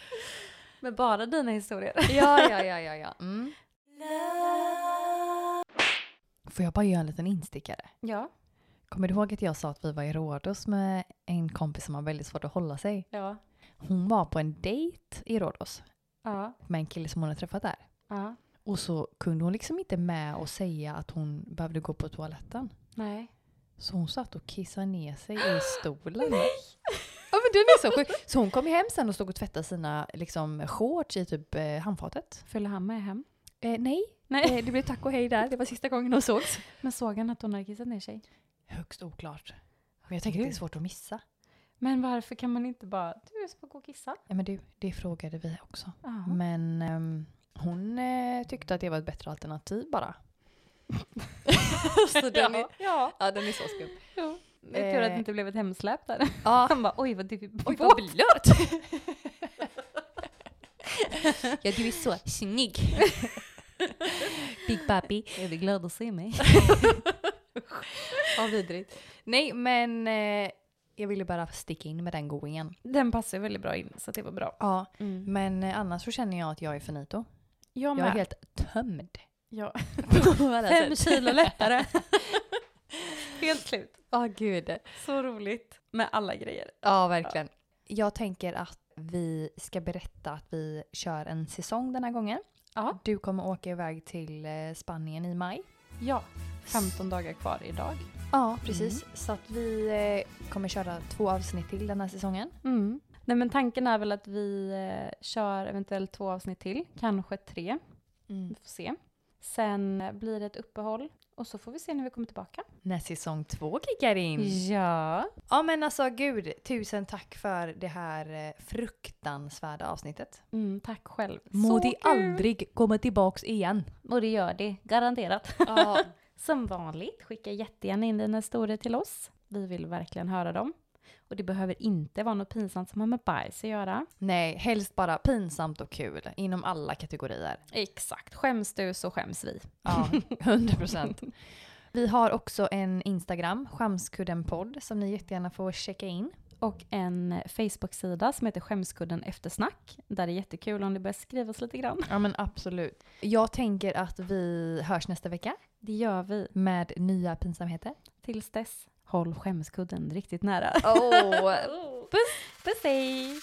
Med bara dina historier. Ja, ja, ja, ja. ja. Mm. Får jag bara göra en liten instickare? Ja. Kommer du ihåg att jag sa att vi var i Rhodos med en kompis som har väldigt svårt att hålla sig? Ja. Hon var på en dejt i Rhodos Ja. med en kille som hon hade träffat där. ja. Och så kunde hon liksom inte med och säga att hon behövde gå på toaletten. Nej. Så hon satt och kissade ner sig i stolen. Nej! Ja men den är så sjuk. Så hon kom ju hem sen och stod och tvättade sina liksom, shorts i typ eh, handfatet. Följde han med hem? Eh, nej, Nej. eh, det blev tack och hej där. Det var sista gången hon sågs. Men såg han att hon hade kissat ner sig? Mm. Högst oklart. Men jag tänker att det är svårt att missa. Men varför kan man inte bara, du jag ska gå och kissa? Ja, men du, det frågade vi också. Ja. Men ehm, hon eh, tyckte att det var ett bättre alternativ bara. så alltså, den är, ja. ja. ja, den är så skum. Jo. Det är tur att Eh. det inte blev ett hemsläp där. Ja, Han bara, oj vad du oj vad blöt! Ja, du är så snygg. Big Papi. Är du glad att se mig? Ja, vidrigt. Nej, men eh, jag ville bara sticka in med den goingen. Den passar ju väldigt bra in, så det var bra. Ja, men eh, annars så känner jag att jag är finito. Jag Jag är med. helt tömd. Ja. På alla Fem sätt. kilo lättare. helt slut. Ja, gud. Så roligt. Med alla grejer. Ja, verkligen. Jag tänker att vi ska berätta att vi kör en säsong den här gången. Ja. Du kommer åka iväg till eh, Spanien i maj. Mm. Ja. 15 dagar kvar idag. Ja, precis. Så att vi eh, kommer köra två avsnitt till den här säsongen. Mm. Nej men tanken är väl att vi eh, kör eventuellt två avsnitt till, kanske tre. Mm. Vi får se. Sen eh, blir det ett uppehåll och så får vi se när vi kommer tillbaka. När säsong två kickar in. Ja. Ja, men alltså gud, tusen tack för det här eh, fruktansvärda avsnittet. Mm, tack själv. Må Så det kul. aldrig komma tillbaks igen. Och det gör det, garanterat. Ja, Som vanligt, skicka jättegärna in dina historier till oss. Vi vill verkligen höra dem. Och det behöver inte vara något pinsamt som har med bajs att göra. nej, helst bara pinsamt och kul inom alla kategorier. Exakt. Skäms du så skäms vi. Ja, 100 procent. Vi har också en Instagram, Skämskuddenpodd, som ni jättegärna får checka in. Och en Facebook-sida som heter Skämskudden eftersnack. Där det är jättekul om du börjar skriva oss lite grann. Ja, men absolut. Jag tänker att vi hörs nästa vecka Det gör vi. med nya pinsamheter. Tills dess, håll skämskudden riktigt nära. Oh. Puss! Puss hej!